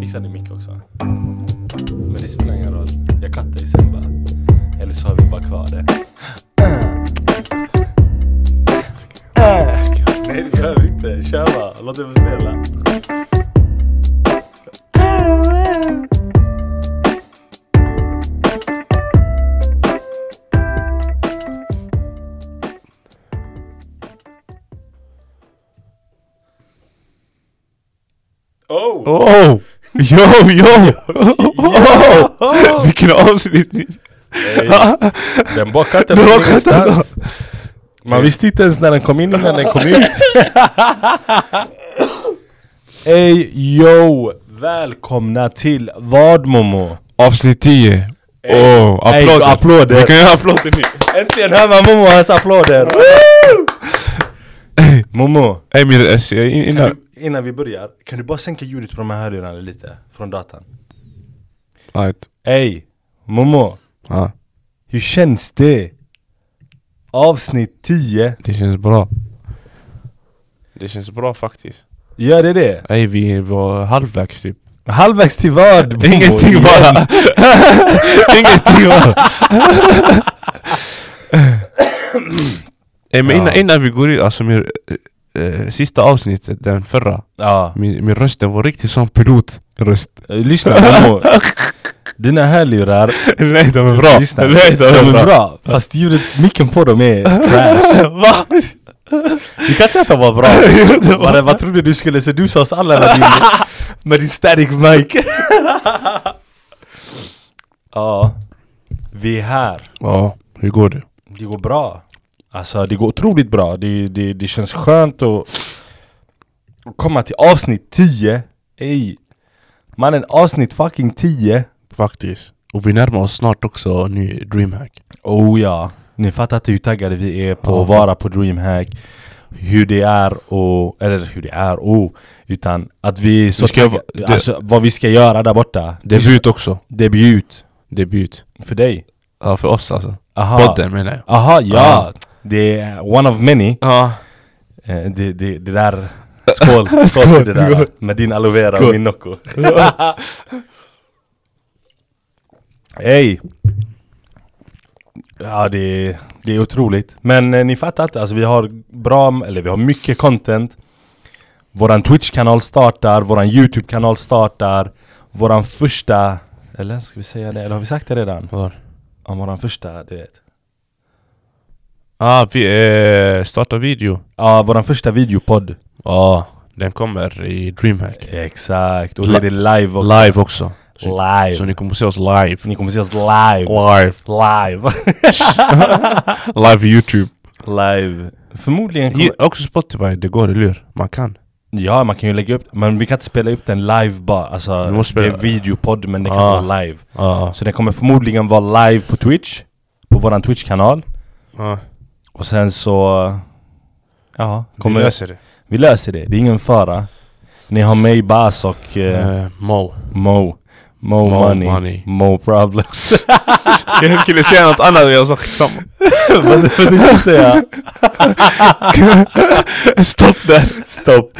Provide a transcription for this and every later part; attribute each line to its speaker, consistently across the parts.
Speaker 1: fixade mick också. Men det spelar ingen roll. Jag kattar ju sen bara. Eller så har vi bara kvar det. Nej det behöver vi inte. Kör bara. Låt det få spela. Oh!
Speaker 2: Oh! Yo, yo! Oh! Vilken avsnittning!
Speaker 1: Hey. Eh, Den bara kattade
Speaker 2: Den
Speaker 1: från
Speaker 2: bara kattade.
Speaker 1: ingenstans. Man visste inte ens när den kom in innan den kom ut. Ey yo! Välkomna till vad Momo?
Speaker 2: Avsnitt 10!
Speaker 1: Ey,
Speaker 2: Oh,
Speaker 1: ey,
Speaker 2: applåder!
Speaker 1: applåder.
Speaker 2: Vi kan göra applåder nu!
Speaker 1: Äntligen hör man Momo och hans applåder!
Speaker 2: Ey,
Speaker 1: Momo,
Speaker 2: Emil S, jag- in-
Speaker 1: kan
Speaker 2: innan...
Speaker 1: du, innan vi börjar, kan du bara sänka ljudet på de här hörlurarna lite? Från datan.
Speaker 2: Right.
Speaker 1: Ey Momo,
Speaker 2: Ja,
Speaker 1: hur känns det? Avsnitt 10,
Speaker 2: det känns bra. Det känns bra faktiskt.
Speaker 1: gör det det?
Speaker 2: Ey, vi var halvvägs typ.
Speaker 1: Halvvägs till vad? Momo?
Speaker 2: Ingenting bara! Ingenting bara! Ey, men innan,
Speaker 1: Ja.
Speaker 2: innan vi går in, alltså min, eh, eh, sista avsnittet, den förra.
Speaker 1: Ja,
Speaker 2: Min, min röst den var riktigt som pilotröst.
Speaker 1: Eh, lyssna Momo. Dina hörlurar
Speaker 2: Nej den var bra!
Speaker 1: Lyssna,
Speaker 2: Nej den var bra!
Speaker 1: Fast ljudet, micken på dem är trash
Speaker 2: Va?
Speaker 1: Du kan inte säga att de var bra Vad- Vad trodde du skulle sedusa oss alla med din, med din static mic? ja Vi är här
Speaker 2: Ja, hur går det?
Speaker 1: Det går bra Alltså det går otroligt bra Det, det, det känns skönt att att komma till avsnitt 10 Ey Mannen avsnitt fucking 10
Speaker 2: Faktiskt. Och vi närmar oss snart också ny DreamHack.
Speaker 1: Oh ja, ni fattar inte hur taggade vi är på
Speaker 2: Ja,
Speaker 1: att vara på DreamHack Hur det är och, eller hur det är oh, Utan att vi är så
Speaker 2: Vi ska
Speaker 1: taggade-
Speaker 2: va- det-
Speaker 1: alltså vad vi ska göra där borta
Speaker 2: Debut också.
Speaker 1: Debut
Speaker 2: Debut.
Speaker 1: För dig?
Speaker 2: Ja, för oss alltså.
Speaker 1: Aha
Speaker 2: Podden menar jag.
Speaker 1: Aha, ja!
Speaker 2: Ja.
Speaker 1: Det är one of many
Speaker 2: Ja.
Speaker 1: eh, det, det, det där Skål, skål, till det där
Speaker 2: skål.
Speaker 1: Med din aloe vera och
Speaker 2: Skål.
Speaker 1: min Nocco Hej! Ja det är, det är otroligt Men eh, ni fattar inte, alltså vi har bra, eller vi har mycket content Våran Twitch-kanal startar, våran YouTube-kanal startar Våran första, eller ska vi säga det, eller har vi sagt det redan?
Speaker 2: Var?
Speaker 1: Om våran första, du vet
Speaker 2: Ah, vi eh, startar video.
Speaker 1: Ja, våran första videopodd
Speaker 2: Ja. Den kommer i DreamHack.
Speaker 1: Exakt, och då är det live också
Speaker 2: Live också. Så,
Speaker 1: Live!
Speaker 2: så ni kommer se oss live.
Speaker 1: Ni kommer se oss live!
Speaker 2: Live.
Speaker 1: Live!
Speaker 2: Live YouTube.
Speaker 1: live! Förmodligen kommer...
Speaker 2: Ge, också Spotify, det går eller hur? Man kan.
Speaker 1: Ja, man kan ju lägga upp Men vi kan inte spela upp den live bara Alltså,
Speaker 2: Vi måste spela-
Speaker 1: det är videopodd men det kan
Speaker 2: Ah.
Speaker 1: vara live
Speaker 2: Ja.
Speaker 1: Så den kommer förmodligen vara live på Twitch På våran Twitch-kanal
Speaker 2: Ja.
Speaker 1: Och sen så... Ja, kommer...
Speaker 2: Kommer löser det.
Speaker 1: vi löser det, det är ingen fara Ni har mig, Bas och eh,
Speaker 2: Eh, Mo.
Speaker 1: Mo Mo,
Speaker 2: Mo
Speaker 1: money.
Speaker 2: money.
Speaker 1: Mo problems
Speaker 2: Jag skulle säga något annat men jag sa samma.
Speaker 1: Vad vad tänkte du säga?
Speaker 2: Stopp där!
Speaker 1: Stopp!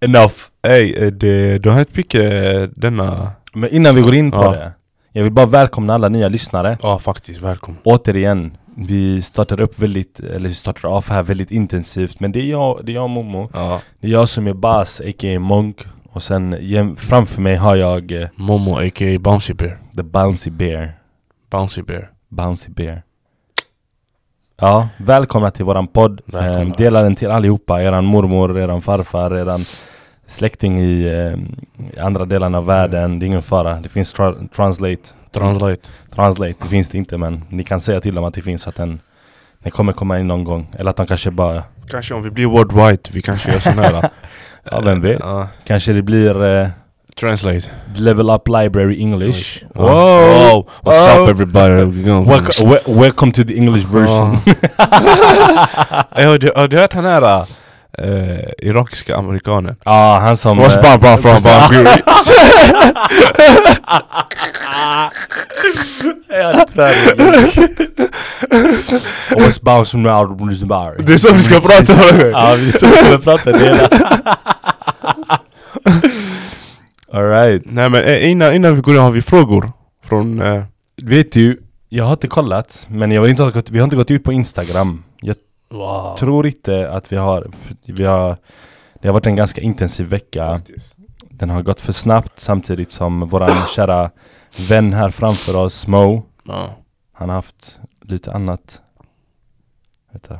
Speaker 1: Enough!
Speaker 2: Ey, eh, det, du har hänt mycket eh, denna...
Speaker 1: Men innan vi går in på
Speaker 2: Ja.
Speaker 1: det Jag vill bara välkomna alla nya lyssnare
Speaker 2: Ja faktiskt, välkommen.
Speaker 1: Återigen Vi startar upp väldigt, eller vi startar av här väldigt intensivt Men det är jag, det är jag och Momo
Speaker 2: Ja.
Speaker 1: Det är jag som är Bas, a.k.a. Monk Och sen jäm, framför mig har jag eh,
Speaker 2: Momo a.k.a. Bouncy Bear.
Speaker 1: The Bouncy Bear
Speaker 2: Bouncy Bear.
Speaker 1: Bouncy Bear Ja, välkomna till våran podd
Speaker 2: Välkomna.
Speaker 1: Ehm, Dela den till allihopa, eran mormor, eran farfar, eran släkting i ehm, i andra delarna av världen Det är ingen fara, det finns tra- Mm. translate
Speaker 2: Translate.
Speaker 1: Translate, det finns det inte men ni kan säga till dem att det finns så att den, den kommer komma in någon gång Eller att de kanske bara,
Speaker 2: Kanske om vi blir worldwide, vi kanske gör sån här.
Speaker 1: ja vem vet?
Speaker 2: Ja.
Speaker 1: eh, Kanske det blir eh,
Speaker 2: Translate.
Speaker 1: Level Up Library English
Speaker 2: Ja.
Speaker 1: Wow!
Speaker 2: Wow. What's
Speaker 1: Oh.
Speaker 2: up everybody?
Speaker 1: Welco- we- welcome to the English version
Speaker 2: Ey, har du- har du hört han här eh, irakiska amerikanen?
Speaker 1: Ja, han som... eh,
Speaker 2: Bam Bam from Bangui?
Speaker 1: ja, det tror jag det är. What's bounce from out of
Speaker 2: Det är så vi ska prata om det!
Speaker 1: Ja, vi såg hur vi pratade hela Alright.
Speaker 2: Nej men eh, innan, innan vi går in har vi frågor från... Eh,
Speaker 1: Vet du, jag har inte kollat, men jag har inte gått, vi har inte gått ut på Instagram. Jag
Speaker 3: Wow.
Speaker 1: tror inte att vi har, för vi har... Det har varit en ganska intensiv vecka. Den har gått för snabbt samtidigt som våran kära vän här framför oss, Mo,
Speaker 2: Ja.
Speaker 1: han har haft lite annat. Vänta.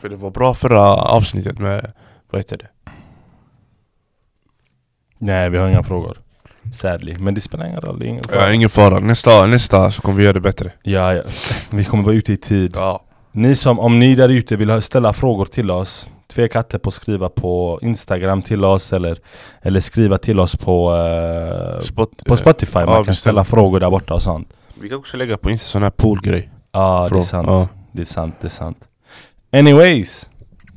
Speaker 2: För det var bra förra avsnittet med... Vad heter det?
Speaker 1: Nej, vi har inga frågor. Sadly. Men det spelar ingen roll. Det är ingen
Speaker 2: Ja,
Speaker 1: fara.
Speaker 2: ingen fara. Nästa, nästa så kommer vi göra det bättre.
Speaker 1: Ja, ja. Vi kommer vara ute i tid.
Speaker 2: Ja.
Speaker 1: Ni som, om ni där ute vill ha- ställa frågor till oss Tveka inte på att skriva på Instagram till oss eller, eller skriva till oss på, eh,
Speaker 2: Spot,
Speaker 1: på Spotify Man
Speaker 2: ja,
Speaker 1: kan
Speaker 2: visst.
Speaker 1: ställa frågor där borta och sånt
Speaker 2: vi kan också lägga på Insta sån här poolgrej.
Speaker 1: Ja, det är
Speaker 2: Frå-
Speaker 1: sant
Speaker 2: ja.
Speaker 1: Det är sant, det är sant Anyways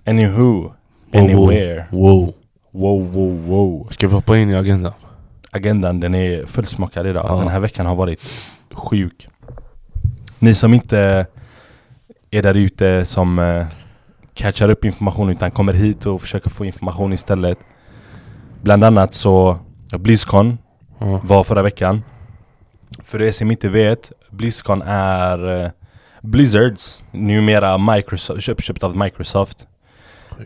Speaker 1: Anywho
Speaker 2: wow.
Speaker 1: Anywhere
Speaker 2: Wow.
Speaker 1: Wow, wow, wow
Speaker 2: Ska vi hoppa in i agendan?
Speaker 1: Agendan den är fullsmockad idag
Speaker 2: Ja.
Speaker 1: Den här veckan har varit sjuk Ni som inte är där ute som eh, catchar upp information utan kommer hit och försöker få information istället Bland annat så Blizzcon
Speaker 2: Ja.
Speaker 1: var förra veckan För er som inte vet Blizzcon är eh, Blizzards numera Microsoft, köpköpt av Microsoft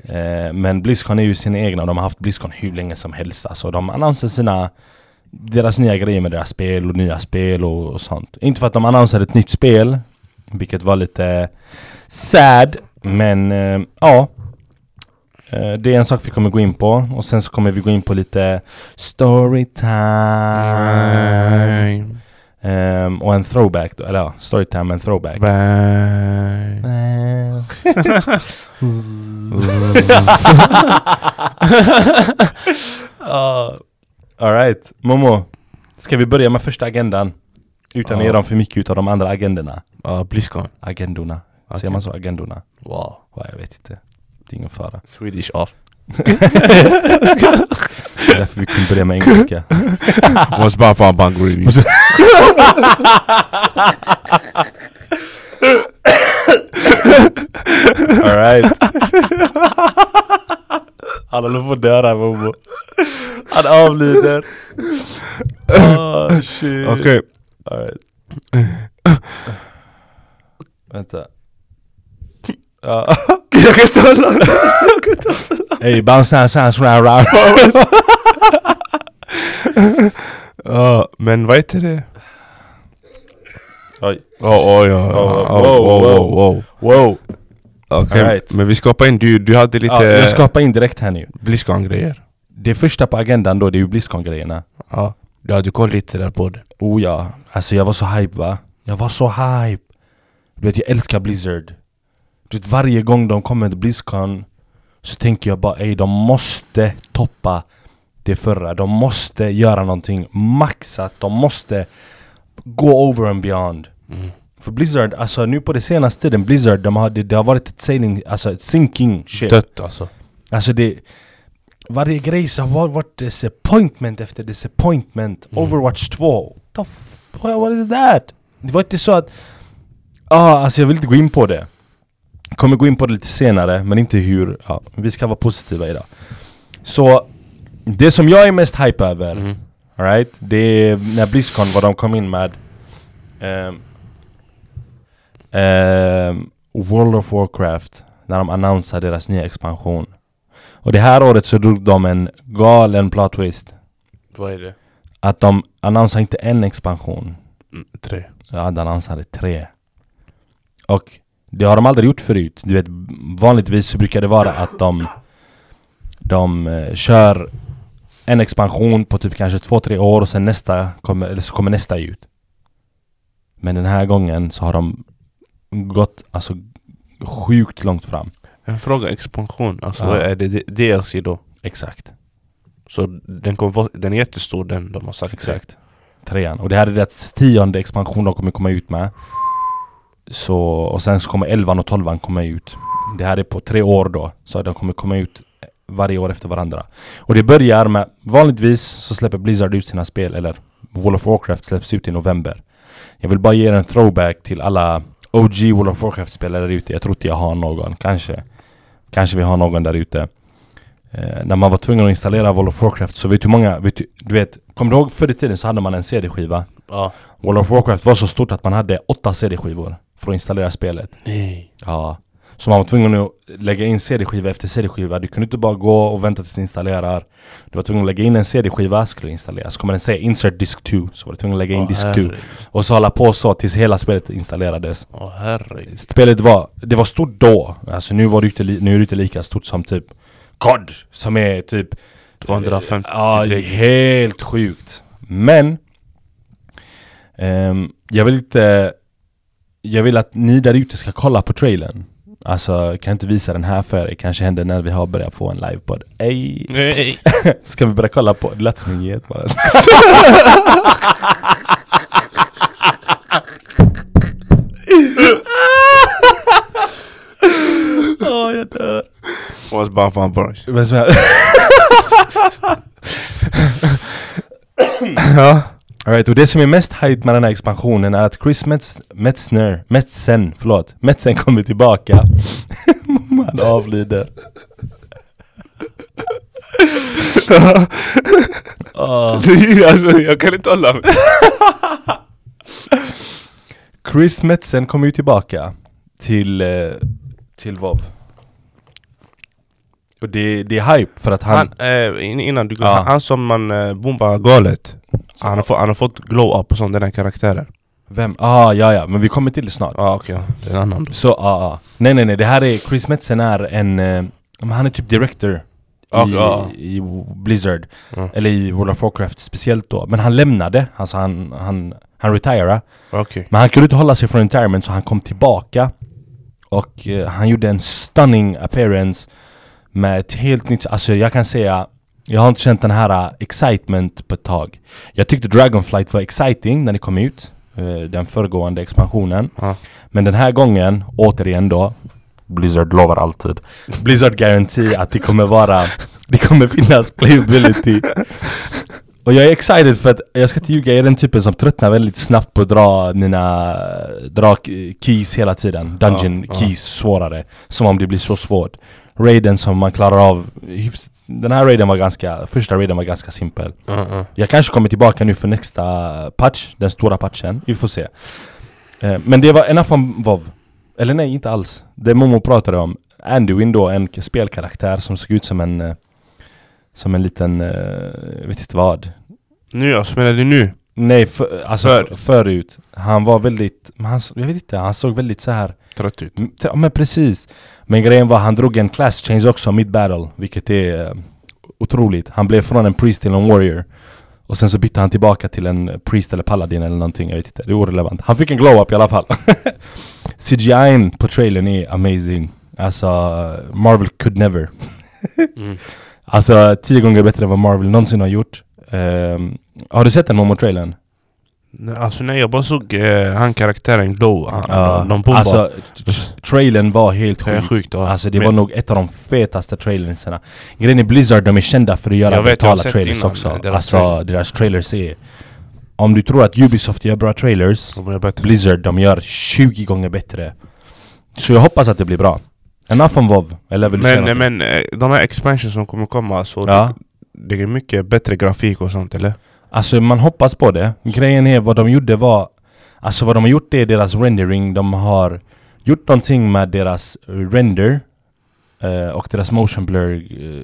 Speaker 1: Eh, men Blizzcon är ju sina egna, de har haft Blizzcon hur länge som helst. Alltså de annonserar sina, deras nya grejer med deras spel och nya spel och, och sånt. Inte för att de annonserade ett nytt spel, vilket var lite sad, men eh, ja. Eh, det är en sak vi kommer gå in på och sen så kommer vi gå in på lite storytime.
Speaker 2: Bang.
Speaker 1: Ehm, och en throwback, då, eller ja, storytime och en throwback.
Speaker 2: Bang.
Speaker 1: Eh. Alright, Momo. Ska vi börja med första agendan? Utan att
Speaker 2: Ja.
Speaker 1: ge dem för mycket utav de andra agendorna.
Speaker 2: Ja, Blizzcon.
Speaker 1: Agendorna.
Speaker 2: Okej.
Speaker 1: Ser man så? Agendorna?
Speaker 2: Wow.
Speaker 1: Ja, jag vet inte. Det är ingen fara.
Speaker 2: Swedish off.
Speaker 1: Det är därför vi kunde börja med engelska.
Speaker 2: What's bad for Banguri?
Speaker 1: Alright. Han håller på att dö där Momo. Han avlider.
Speaker 2: Ah,
Speaker 1: Oh, shit.
Speaker 2: Okej.
Speaker 1: Alright. Vänta. Ja.
Speaker 2: Jag kan inte hålla
Speaker 1: Ey, bounce down, sounds round, round.
Speaker 2: Ja, men vad heter det?
Speaker 1: Oj.
Speaker 2: Oh, oj, oj, oj,
Speaker 1: wow,
Speaker 2: wow,
Speaker 1: wow.
Speaker 2: wow, wow.
Speaker 1: Wow.
Speaker 2: Okej,
Speaker 1: Alright.
Speaker 2: men vi ska hoppa in. Du, du hade lite
Speaker 1: Ja, jag ska
Speaker 2: ja,
Speaker 1: hoppa in direkt här nu.
Speaker 2: Blizzcon-grejer.
Speaker 1: Det första på agendan då, det är ju Blizzcon-grejerna.
Speaker 2: Ja, du hade koll lite där på det.
Speaker 1: Oh ja, alltså jag var så hype va? Jag var så hype! Du vet jag älskar Blizzard. Du vet varje gång de kommer till Blizzcon så tänker jag bara ey de måste toppa det förra. De måste göra någonting maxat. De måste gå over and beyond. För Blizzard, alltså nu på det senaste tiden, Blizzard, de har, det, det har varit ett sailing, alltså ett sinking ship.
Speaker 2: Dött alltså.
Speaker 1: Alltså det... Varje grej så har varit disappointment efter disappointment. Overwatch 2. The f- what what is that? Det var inte så att... Ja, ah, alltså jag vill inte gå in på det. Kommer gå in på det lite senare, men inte hur... Ja, vi ska vara positiva idag. Så... Det som jag är mest hype över,
Speaker 2: Mm.
Speaker 1: alright? Det är när Blizzcon, vad de kom in med. ehm, ehm, World of Warcraft. När de annonsade deras nya expansion. Och det här året så drog de en galen plot twist.
Speaker 2: Vad är det?
Speaker 1: Att de annonsade inte en expansion.
Speaker 2: Mm, tre.
Speaker 1: Ja, de annonsade tre. Och det har de aldrig gjort förut. Du vet, vanligtvis så brukar det vara att de... De eh, kör en expansion på typ kanske två, tre år och sen nästa kommer, eller så kommer nästa ut. Men den här gången så har de gått alltså sjukt långt fram.
Speaker 2: En fråga, expansion. Alltså
Speaker 1: Ja.
Speaker 2: vad är det D- DLC då?
Speaker 1: Exakt.
Speaker 2: Så den, kommer vara, den är jättestor den de har sagt.
Speaker 1: Exakt. Trean. Och det här är deras tionde expansion de kommer komma ut med. Så, och sen så kommer elvan och tolvan komma ut. Det här är på tre år då. Så de kommer komma ut varje år efter varandra. Och det börjar med, vanligtvis så släpper Blizzard ut sina spel, eller World of Warcraft släpps ut i november. Jag vill bara ge er en throwback till alla OG World of Warcraft-spelare där ute. Jag tror inte jag har någon, kanske. Kanske vi har någon där ute. eh, när man var tvungen att installera World of Warcraft så vet du hur många, vet du, du vet, kommer du ihåg förr i tiden så hade man en CD-skiva?
Speaker 2: Ja.
Speaker 1: World of Warcraft var så stort att man hade åtta CD-skivor för att installera spelet.
Speaker 2: Nej.
Speaker 1: Ja. Så man var tvungen att lägga in CD-skiva efter CD-skiva. Du kunde inte bara gå och vänta tills det installerar. Du var tvungen att lägga in en CD-skiva, skulle installeras. Så kommer den säga insert disk 2. Så var du tvungen att lägga in disk 2. Och så hålla på så tills hela spelet installerades.
Speaker 2: Åh herregud.
Speaker 1: Spelet var, det var stort då. Alltså nu var det inte, li- nu är det inte lika stort som typ COD. Som är typ
Speaker 2: 250
Speaker 1: Ja, det är
Speaker 2: gig.
Speaker 1: helt sjukt. Men ehm, jag vill inte... Jag vill att ni där ute ska kolla på trailern. Alltså, kan jag inte visa den här för er. Det kanske händer när vi har börjat få en livepodd. Ej!
Speaker 2: Nej.
Speaker 1: Ska vi börja kolla på... Det lät som en get bara. Åh, jag dör.
Speaker 2: Was bara fan boys.
Speaker 1: Men som jag...
Speaker 2: Ja.
Speaker 1: All right, och det som är mest hype med den här expansionen är att Chris Metz, Metzner, Metzen, förlåt, Metzen kommer tillbaka. Man avlider. Ah.
Speaker 2: alltså, jag kan inte hålla mig.
Speaker 1: Chris Metzen kommer ju tillbaka till, eh, till Vob. Och det, det är hype för att han...
Speaker 2: Han, eh, in- innan du går,
Speaker 1: Ja.
Speaker 2: han, han som man eh, bombar galet. Han har, fått, han har fått glow-up och sånt, den här karaktären.
Speaker 1: Vem? Ah, ja, ja, men vi kommer till det snart.
Speaker 2: Ja ah, okej, det är en annan då.
Speaker 1: Så, ah, ah. Nej, nej, nej, det här är... Chris Metzen är en... Eh, men han är typ director
Speaker 2: Ja,
Speaker 1: i,
Speaker 2: ja.
Speaker 1: i Blizzard.
Speaker 2: Mm.
Speaker 1: Eller i World of Warcraft speciellt då. Men han lämnade, alltså han, han, han retirade.
Speaker 2: Okej.
Speaker 1: Men han kunde inte hålla sig från retirement så han kom tillbaka. Och eh, han gjorde en stunning appearance med ett helt nytt, alltså jag kan säga jag har inte känt den här eh, excitement på ett tag. Jag tyckte Dragonflight var exciting när det kom ut, eh, den föregående expansionen.
Speaker 2: Ja.
Speaker 1: Men den här gången, återigen då Blizzard lovar alltid Blizzard garanti att det kommer vara Det kommer finnas playability Och jag är excited för att Jag ska inte ljuga, jag är den typen som tröttnar väldigt snabbt på att dra mina Dra k- keys hela tiden Dungeon
Speaker 2: Ja, ja.
Speaker 1: keys svårare Som om det blir så svårt Raiden som man klarar av hyfs- Den här raiden var ganska, första raiden var ganska simpel
Speaker 2: Ja, ja.
Speaker 1: jag kanske kommer tillbaka nu för nästa patch, den stora patchen. Vi får se. Eh, Men det var enough om WoW. Eller nej, inte alls. Det Momo pratade om. Anduin då, en k- spelkaraktär som såg ut som en... eh, Som en liten... eh, Jag vet inte vad.
Speaker 2: Nu alltså, menar du nu?
Speaker 1: Nej, för, alltså
Speaker 2: Förr.
Speaker 1: för. förut. Han var väldigt... men Han, s- jag vet inte, han såg väldigt så här
Speaker 2: Trött ut.
Speaker 1: Mm, t- Ja men precis. Men grejen var han drog en class change också mid battle, vilket är eh, otroligt. Han blev från en priest till en warrior. Och sen så bytte han tillbaka till en priest eller paladin eller någonting, jag vet inte. Det är orelevant. Han fick en glow-up i alla fall. CGI'n på trailern är amazing. Alltså, eh, Marvel could never.
Speaker 2: Mm.
Speaker 1: Alltså tio gånger bättre än vad Marvel någonsin har gjort. Ehm, har du sett den Momo-trailern?
Speaker 2: Nej, Alltså nej, jag bara såg eh, han karaktären glow. Han, De bombar.
Speaker 1: Alltså, t- trailern var helt
Speaker 2: det är
Speaker 1: sjuk.
Speaker 2: sjukt. Ja.
Speaker 1: Alltså det
Speaker 2: Men
Speaker 1: var nog ett av de fetaste trailersarna Grejen är Blizzard, de är kända för att göra
Speaker 2: Jag vet, jag har
Speaker 1: brutala
Speaker 2: sett
Speaker 1: trailers
Speaker 2: innan,
Speaker 1: också
Speaker 2: deras
Speaker 1: Alltså
Speaker 2: trailer.
Speaker 1: deras trailers är Om du tror att Ubisoft gör bra trailers
Speaker 2: de är bättre.
Speaker 1: Blizzard, de gör 20 gånger bättre Så jag hoppas att det blir bra Enough om WoW, eller vill du säga
Speaker 2: Men, eh,
Speaker 1: någonting?
Speaker 2: men eh, de här expansions som kommer komma, så
Speaker 1: Ja.
Speaker 2: det, det är mycket bättre grafik och sånt eller?
Speaker 1: Alltså man hoppas på det. Grejen är vad de gjorde var... Alltså vad de har gjort är deras rendering. De har gjort någonting med deras eh, render eh, och deras motion blur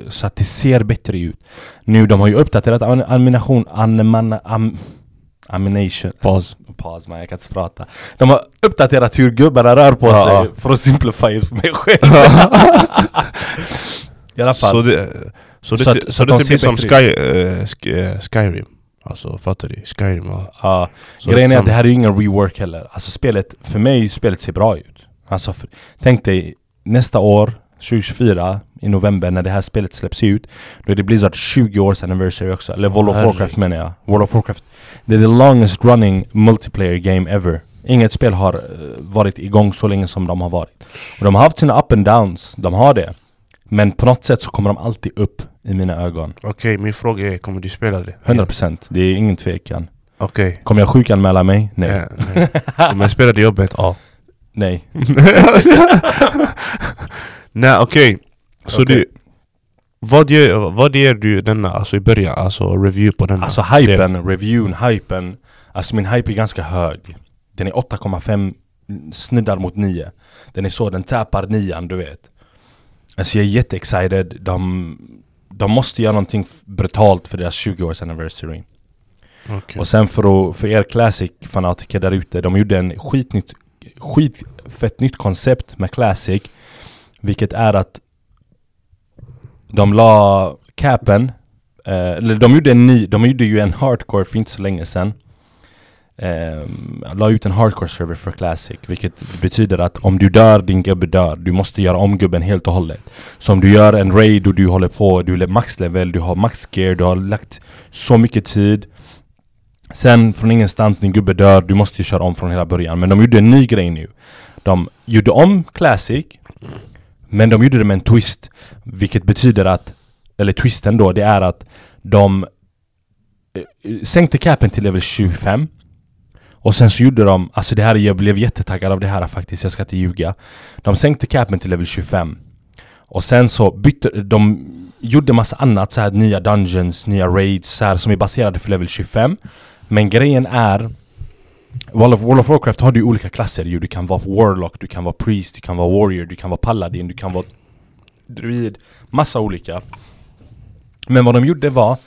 Speaker 1: eh, så att det ser bättre ut. Nu de har ju uppdaterat an- animation... Animan, am, animation... Paus. Paus man, jag kan inte prata. De har uppdaterat hur gubbarna rör på
Speaker 2: Ja,
Speaker 1: sig
Speaker 2: ja.
Speaker 1: för att simplifiera för mig själv. I alla fall.
Speaker 2: Så det, så
Speaker 1: Så
Speaker 2: det, så
Speaker 1: att-
Speaker 2: det,
Speaker 1: så att de
Speaker 2: typ blir
Speaker 1: ser
Speaker 2: som
Speaker 1: bättre
Speaker 2: Sky, eh, Sk- eh, Skyrim. Alltså fattar du? Skyrim. Ja.
Speaker 1: Ja,
Speaker 2: Så
Speaker 1: grejen är
Speaker 2: liksom-
Speaker 1: att det här är ju ingen rework heller. Alltså spelet, för mig, spelet ser bra ut. Alltså, för, tänk dig nästa år, 2024, i november, när det här spelet släpps ut. Då är det Blizzard 20 års anniversary också. Eller World of
Speaker 2: Herregud.
Speaker 1: Warcraft menar jag. World of Warcraft. Det är the longest running multiplayer game ever. Inget spel har eh, varit igång så länge som de har varit. Och de har haft sina up and downs, de har det. Men på något sätt så kommer de alltid upp i mina ögon.
Speaker 2: Okej, min fråga är, kommer du spela det?
Speaker 1: 100%, det är ingen tvekan.
Speaker 2: Okej.
Speaker 1: Kommer jag sjukanmäla mig? Nej.
Speaker 2: Ja, nej. Om jag spelade jobbet, ja.
Speaker 1: Nej.
Speaker 2: nej okej. Så
Speaker 1: Okej.
Speaker 2: du... Vad ger, vad ger du denna, alltså i början, alltså review på denna?
Speaker 1: Alltså hypen, reviewn, hypen Alltså min hype är ganska hög Den är 8,5 mm, snuddar mot 9 Den är så, den tappar 9 du vet Alltså jag är jätteexcited, de, de måste göra någonting f- brutalt för deras 20-års anniversary
Speaker 2: Okej.
Speaker 1: Och sen för, att, för er Classic-fanatiker där ute, de gjorde en skitnytt, skitfett nytt koncept med Classic Vilket är att de la capen, eh, eller de gjorde en ny, de gjorde ju en hardcore för inte så länge sedan eh, La ut en hardcore server för Classic Vilket betyder att om du dör, din gubbe dör Du måste göra om gubben helt och hållet Så om du gör en raid och du håller på, du är max level, du har max gear, du har lagt så mycket tid Sen från ingenstans, din gubbe dör, du måste ju köra om från hela början Men de gjorde en ny grej nu De gjorde om Classic Men de gjorde det med en twist Vilket betyder att Eller twisten då, det är att De eh, eh, Sänkte capen till level 25 Och sen så gjorde de Alltså det här, jag blev jättetaggad av det här faktiskt Jag ska inte ljuga De sänkte capen till level 25 och sen så bytte de Gjorde massa annat, så här nya dungeons, nya raids så här, som är baserade för level 25 Men grejen är World of, World of Warcraft har du ju olika klasser ju. Du kan vara Warlock, du kan vara Priest, du kan vara Warrior, du kan vara Paladin, du kan vara Druid Massa olika Men vad de gjorde var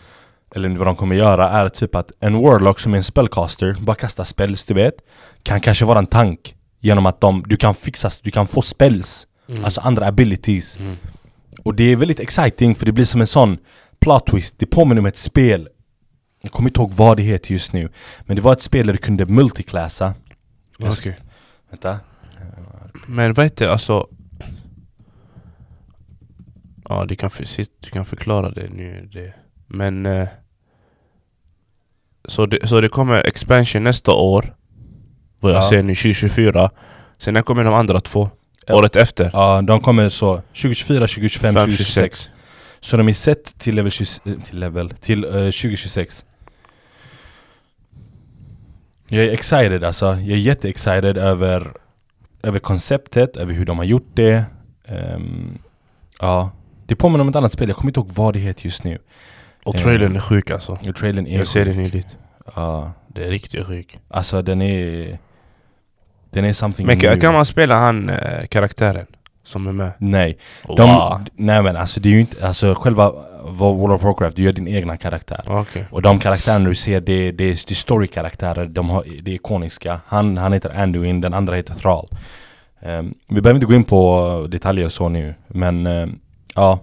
Speaker 1: Eller vad de kommer göra är typ att en Warlock som är en spellcaster, bara kastar spells du vet Kan kanske vara en tank Genom att de, du kan fixa, du kan få spells Alltså andra abilities Och det är väldigt exciting för det blir som en sån plot twist Det påminner om ett spel Jag kommer inte ihåg vad det heter just nu Men det var ett spel där du kunde multiclassa Jag ska-
Speaker 2: Okej.
Speaker 1: Vänta
Speaker 2: Men vad heter det, alltså... Ja, du kan, för, sist- du kan förklara det nu. Det. Men... eh, Så det, så det kommer expansion nästa år, vad jag
Speaker 1: Ja.
Speaker 2: ser nu, 2024. Sen när kommer de andra två?
Speaker 1: Ja.
Speaker 2: Året efter?
Speaker 1: Ja, de kommer så 2024, 2025, 2026 Så de är sett till level, 20, eh, till, level till eh, 2026 Jag är excited alltså, jag är jätteexcited över Över konceptet, över hur de har gjort det Ehm, Ja, det påminner om ett annat spel, jag kommer inte ihåg vad det heter just nu
Speaker 2: Och
Speaker 1: Eh,
Speaker 2: trailern är sjuk alltså.
Speaker 1: Och trailern är
Speaker 2: Jag ser den nyligt.
Speaker 1: Ja,
Speaker 2: Det är riktigt sjuk.
Speaker 1: alltså den är Den är something
Speaker 2: Men
Speaker 1: new.
Speaker 2: kan, kan man spela han eh, karaktären som är med?
Speaker 1: Nej, de,
Speaker 2: Wow.
Speaker 1: nej men alltså det är ju inte, alltså själva eh, World of Warcraft, du gör din egna karaktär
Speaker 2: Okej.
Speaker 1: Och de karaktärerna du ser, det, är- det, är- det är story-karaktärer, de har, det är ikoniska Han, han heter Anduin, den andra heter Thrall Ehm, Vi behöver inte gå in på detaljer och så nu, men ehm, ja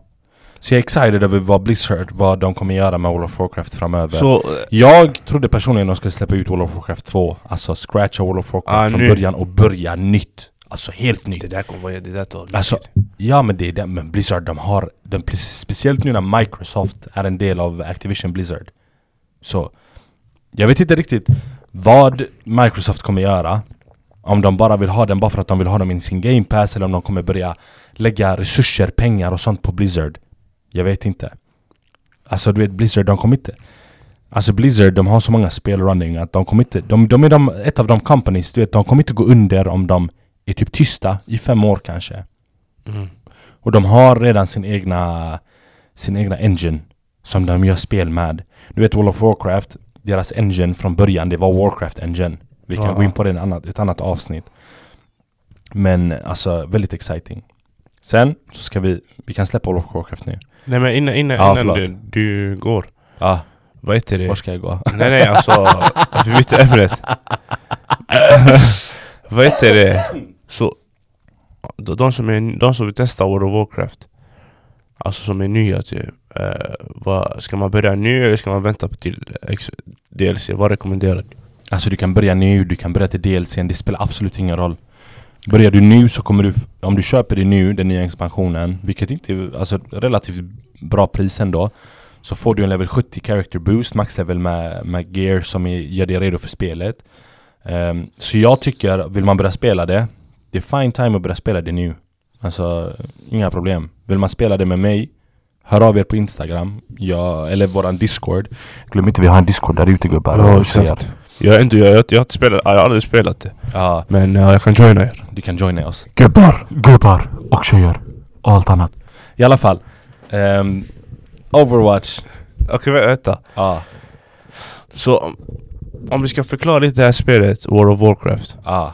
Speaker 1: Så jag är excited över vad Blizzard, vad de kommer göra med World of Warcraft framöver
Speaker 2: Så, eh,
Speaker 1: Jag trodde personligen de skulle släppa ut World of Warcraft 2 Alltså scratcha World of Warcraft
Speaker 2: Ah,
Speaker 1: från
Speaker 2: ny.
Speaker 1: början och börja nytt Alltså helt nytt
Speaker 2: det där kommer vara... Det där tar
Speaker 1: Alltså, ja men det är det, men Blizzard de har, de, pre- speciellt nu när Microsoft är en del av Activision Blizzard Så, jag vet inte riktigt vad Microsoft kommer göra Om de bara vill ha den bara för att de vill ha dem i sin game pass eller om de kommer börja lägga resurser, pengar och sånt på Blizzard Jag vet inte Alltså du vet Blizzard, de kommer inte Alltså Blizzard, de har så många spel running att de kommer inte De, de är de, ett av de companies, du vet, de kommer inte gå under om de är typ tysta i fem år kanske
Speaker 2: Mm.
Speaker 1: och de har redan sin egna Sin egna engine Som de gör spel med Du vet World of Warcraft Deras engine från början det var Warcraft engine Vi kan
Speaker 2: Ja.
Speaker 1: gå in på det i en annat, ett annat avsnitt Men alltså väldigt exciting Sen så ska vi Vi kan släppa World of Warcraft nu
Speaker 2: Nej men innan, innan,
Speaker 1: Ja,
Speaker 2: innan
Speaker 1: förlåt.
Speaker 2: du, du går.
Speaker 1: Ja,
Speaker 2: Vad heter det?
Speaker 1: var ska jag gå?
Speaker 2: Nej nej alltså, vi bytte ämnet. Vad heter det? Så, de de som, är, de som vill testa World of Warcraft, alltså som är nya typ, eh, vad, ska man börja nu eller ska man vänta på till eh, ex- DLC? Vad rekommenderar du?
Speaker 1: Alltså du kan börja nu, du kan börja till DLCn, det spelar absolut ingen roll Börjar du nu så kommer du, f- om du köper det nu, den nya expansionen Vilket inte är, alltså relativt bra pris ändå Så får du en level 70 character boost, max level med, med gear som är, gör dig redo för spelet Ehm, Så jag tycker, vill man börja spela det Det är fine time att börja spela det nu Alltså, inga problem Vill man spela det med mig Hör av er på Instagram, jag, eller våran discord Glöm inte vi har en discord där ute gubbar
Speaker 2: Ja,
Speaker 1: och
Speaker 2: exakt.
Speaker 1: ser.
Speaker 2: Jag har inte, jag, jag, jag, har inte spelat, jag har aldrig spelat det.
Speaker 1: Ja,
Speaker 2: Men eh, jag kan joina er.
Speaker 1: du kan joina oss
Speaker 3: Gubbar, gubbar och tjejer. Och allt annat.
Speaker 1: I alla fall ehm, Overwatch.
Speaker 2: Okej vä- vänta.
Speaker 1: Ja,
Speaker 2: Så om, om vi ska förklara lite det här spelet, World of Warcraft.
Speaker 1: ja.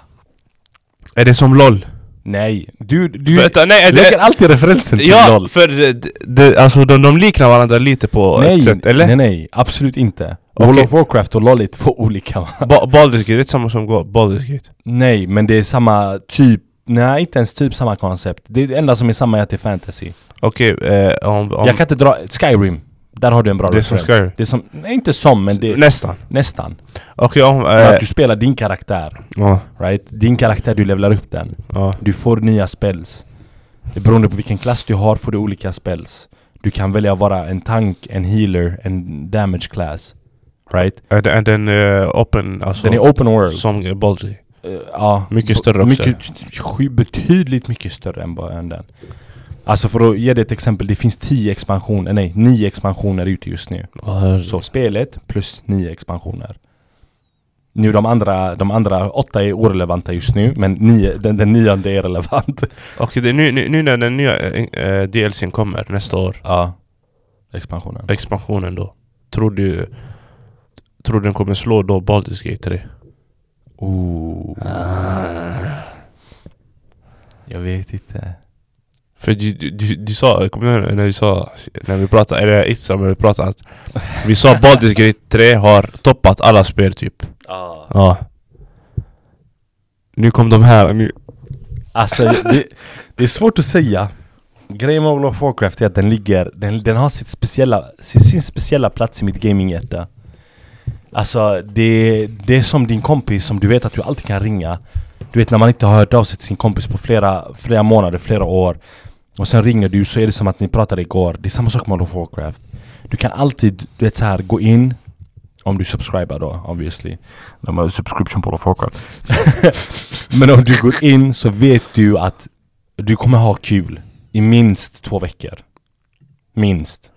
Speaker 2: Är det som LOL?
Speaker 1: Nej. Du, du,
Speaker 2: vänta, nej!
Speaker 1: du lägger
Speaker 2: Det,
Speaker 1: alltid referensen till
Speaker 2: ja,
Speaker 1: LOL.
Speaker 2: för det, det, alltså de, de liknar varandra lite på
Speaker 1: Nej,
Speaker 2: ett sätt, eller?
Speaker 1: nej, nej. Absolut inte. World
Speaker 2: Okej.
Speaker 1: of Warcraft och LOL är två olika va?
Speaker 2: Ba- Baldur's Gate, det är samma som Go- Baldur's Gate.
Speaker 1: Nej, men det är samma typ. Nej, inte ens typ samma koncept. Det är det enda som är samma är att det är fantasy.
Speaker 2: Okej, eh, om, om
Speaker 1: Jag kan inte dra... Skyrim. Där har du en bra
Speaker 2: Det är som
Speaker 1: referens.
Speaker 2: Skyrim.
Speaker 1: Det är som... Nej, inte som, men det är
Speaker 2: nästan.
Speaker 1: nästan.
Speaker 2: Okej, om...
Speaker 1: Men
Speaker 2: Eh,
Speaker 1: Att du spelar din karaktär.
Speaker 2: ja,
Speaker 1: Right? Din karaktär, du levlar upp den.
Speaker 2: ja,
Speaker 1: Du får nya spells. Det Beroende på vilken klass du har får du olika spells. Du kan välja att vara en tank, en healer, en damage class. Right?
Speaker 2: Är den- är den eh, open, alltså
Speaker 1: Den är open world.
Speaker 2: som eh, Baldur's Gate?
Speaker 1: Eh, ja,
Speaker 2: Mycket
Speaker 1: b-
Speaker 2: större också.
Speaker 1: mycket, sju- Betydligt mycket större än, bara- än den. Alltså för att ge dig ett exempel, det finns 10 expansioner, nej 9 expansioner ute just
Speaker 2: Mm.
Speaker 1: nu. Så spelet plus 9 expansioner. Nu de andra, de andra åtta är orelevanta just nu, men nio, den, den nionde är relevant.
Speaker 2: Okej, det är nu, nu, nu när den nya eh, eh, DLCn kommer nästa år,
Speaker 1: Ja. Expansionen.
Speaker 2: expansionen då. Tror du... Tror du den kommer slå då Baldur's Gate 3?
Speaker 1: Oh. Jag vet inte.
Speaker 2: För du, du, du, du sa, kommer du ihåg när vi sa, när vi pratade, eller Itzam, när vi pratade att vi sa Baldur's Gate 3 har toppat alla spel typ.
Speaker 1: Ah.
Speaker 2: Ja. Nu kom de här, nu...
Speaker 1: Alltså det, det är svårt att säga Grejen med World of Warcraft är att den ligger, den, den har sitt speciella, sin, sin speciella plats i mitt gaminghjärta Alltså det, det är som din kompis som du vet att du alltid kan ringa Du vet när man inte har hört av sig till sin kompis på flera, flera månader, flera år Och sen ringer du så är det som att ni pratade igår Det är samma sak med World of Warcraft Du kan alltid, du vet så här, gå in om du subscribar då obviously De har subscription på World of Warcraft men om du går in så vet du att du kommer ha kul i minst två veckor. Minst.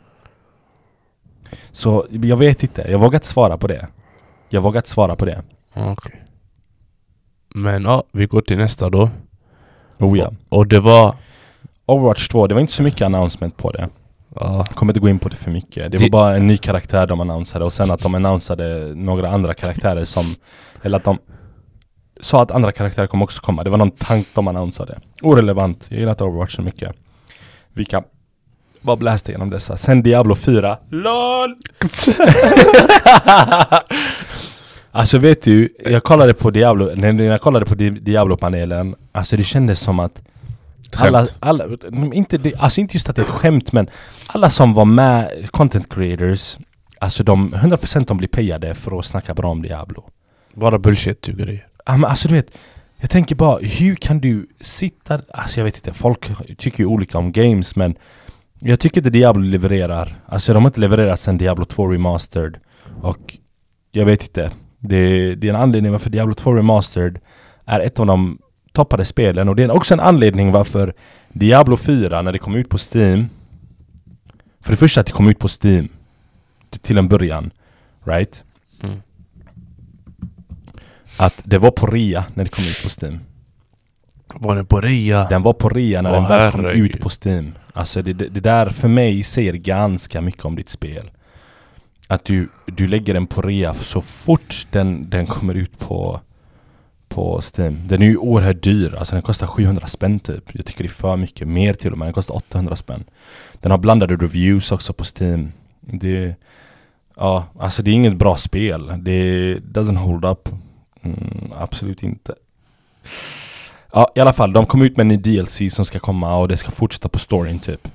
Speaker 1: Så jag vet inte, jag vågar inte svara på det. Jag vågar inte svara på det.
Speaker 2: Okej. Men ja, vi går till nästa då.
Speaker 1: Oh ja.
Speaker 2: Och det var...
Speaker 1: Overwatch 2, det var inte så mycket announcement på det.
Speaker 2: Ja.
Speaker 1: Jag kommer inte gå in på det för mycket. Det
Speaker 2: Det-
Speaker 1: var bara en ny karaktär de annonserade och sen att de annonserade några andra karaktärer som... Eller att de sa att andra karaktärer kommer också komma. Det var någon tank de annonserade. Orelevant. Jag gillar inte Overwatch så mycket. Vi kan bara blästa igenom dessa. Sen Diablo 4. LOL! alltså vet du, jag kollade på Diablo, när när jag kollade på Di- Diablo-panelen, alltså det kändes som att alla,
Speaker 2: Skämt.
Speaker 1: alla, mm, inte, det, alltså inte just att det är ett skämt men alla som var med, content creators, alltså de, 100% de blir pejade för att snacka bra om Diablo.
Speaker 2: Bara bullshit typ grejer.
Speaker 1: Ja, men alltså du vet, jag tänker bara hur kan du sitta... Alltså jag vet inte, folk tycker ju olika om games men jag tycker inte Diablo levererar. Alltså de har inte levererat sen Diablo 2 Remastered. Och jag vet inte. Det, det är en anledning varför Diablo 2 Remastered är ett av de toppade spelen och det är också en anledning varför Diablo 4 när det kom ut på Steam För det första att det kom ut på Steam t- Till en början Right?
Speaker 2: Mm.
Speaker 1: Att det var på rea när det kom ut på Steam
Speaker 2: Var den på rea?
Speaker 1: Den var på rea när
Speaker 2: Åh,
Speaker 1: den väl kom
Speaker 2: herregud.
Speaker 1: ut på Steam. Alltså det, det, det där för mig säger ganska mycket om ditt spel. Att du, du lägger den på rea för så fort den, den kommer ut på, på Steam. Den är ju oerhört dyr, alltså den kostar 700 spänn typ. Jag tycker det är för mycket, mer till och med. Den kostar 800 spänn. Den har blandade reviews också på Steam. Det, ja, alltså det är inget bra spel. Det doesn't hold up. Mm, absolut inte. Ja, i alla fall. De kom ut med en ny DLC som ska komma och det ska fortsätta på storyn typ.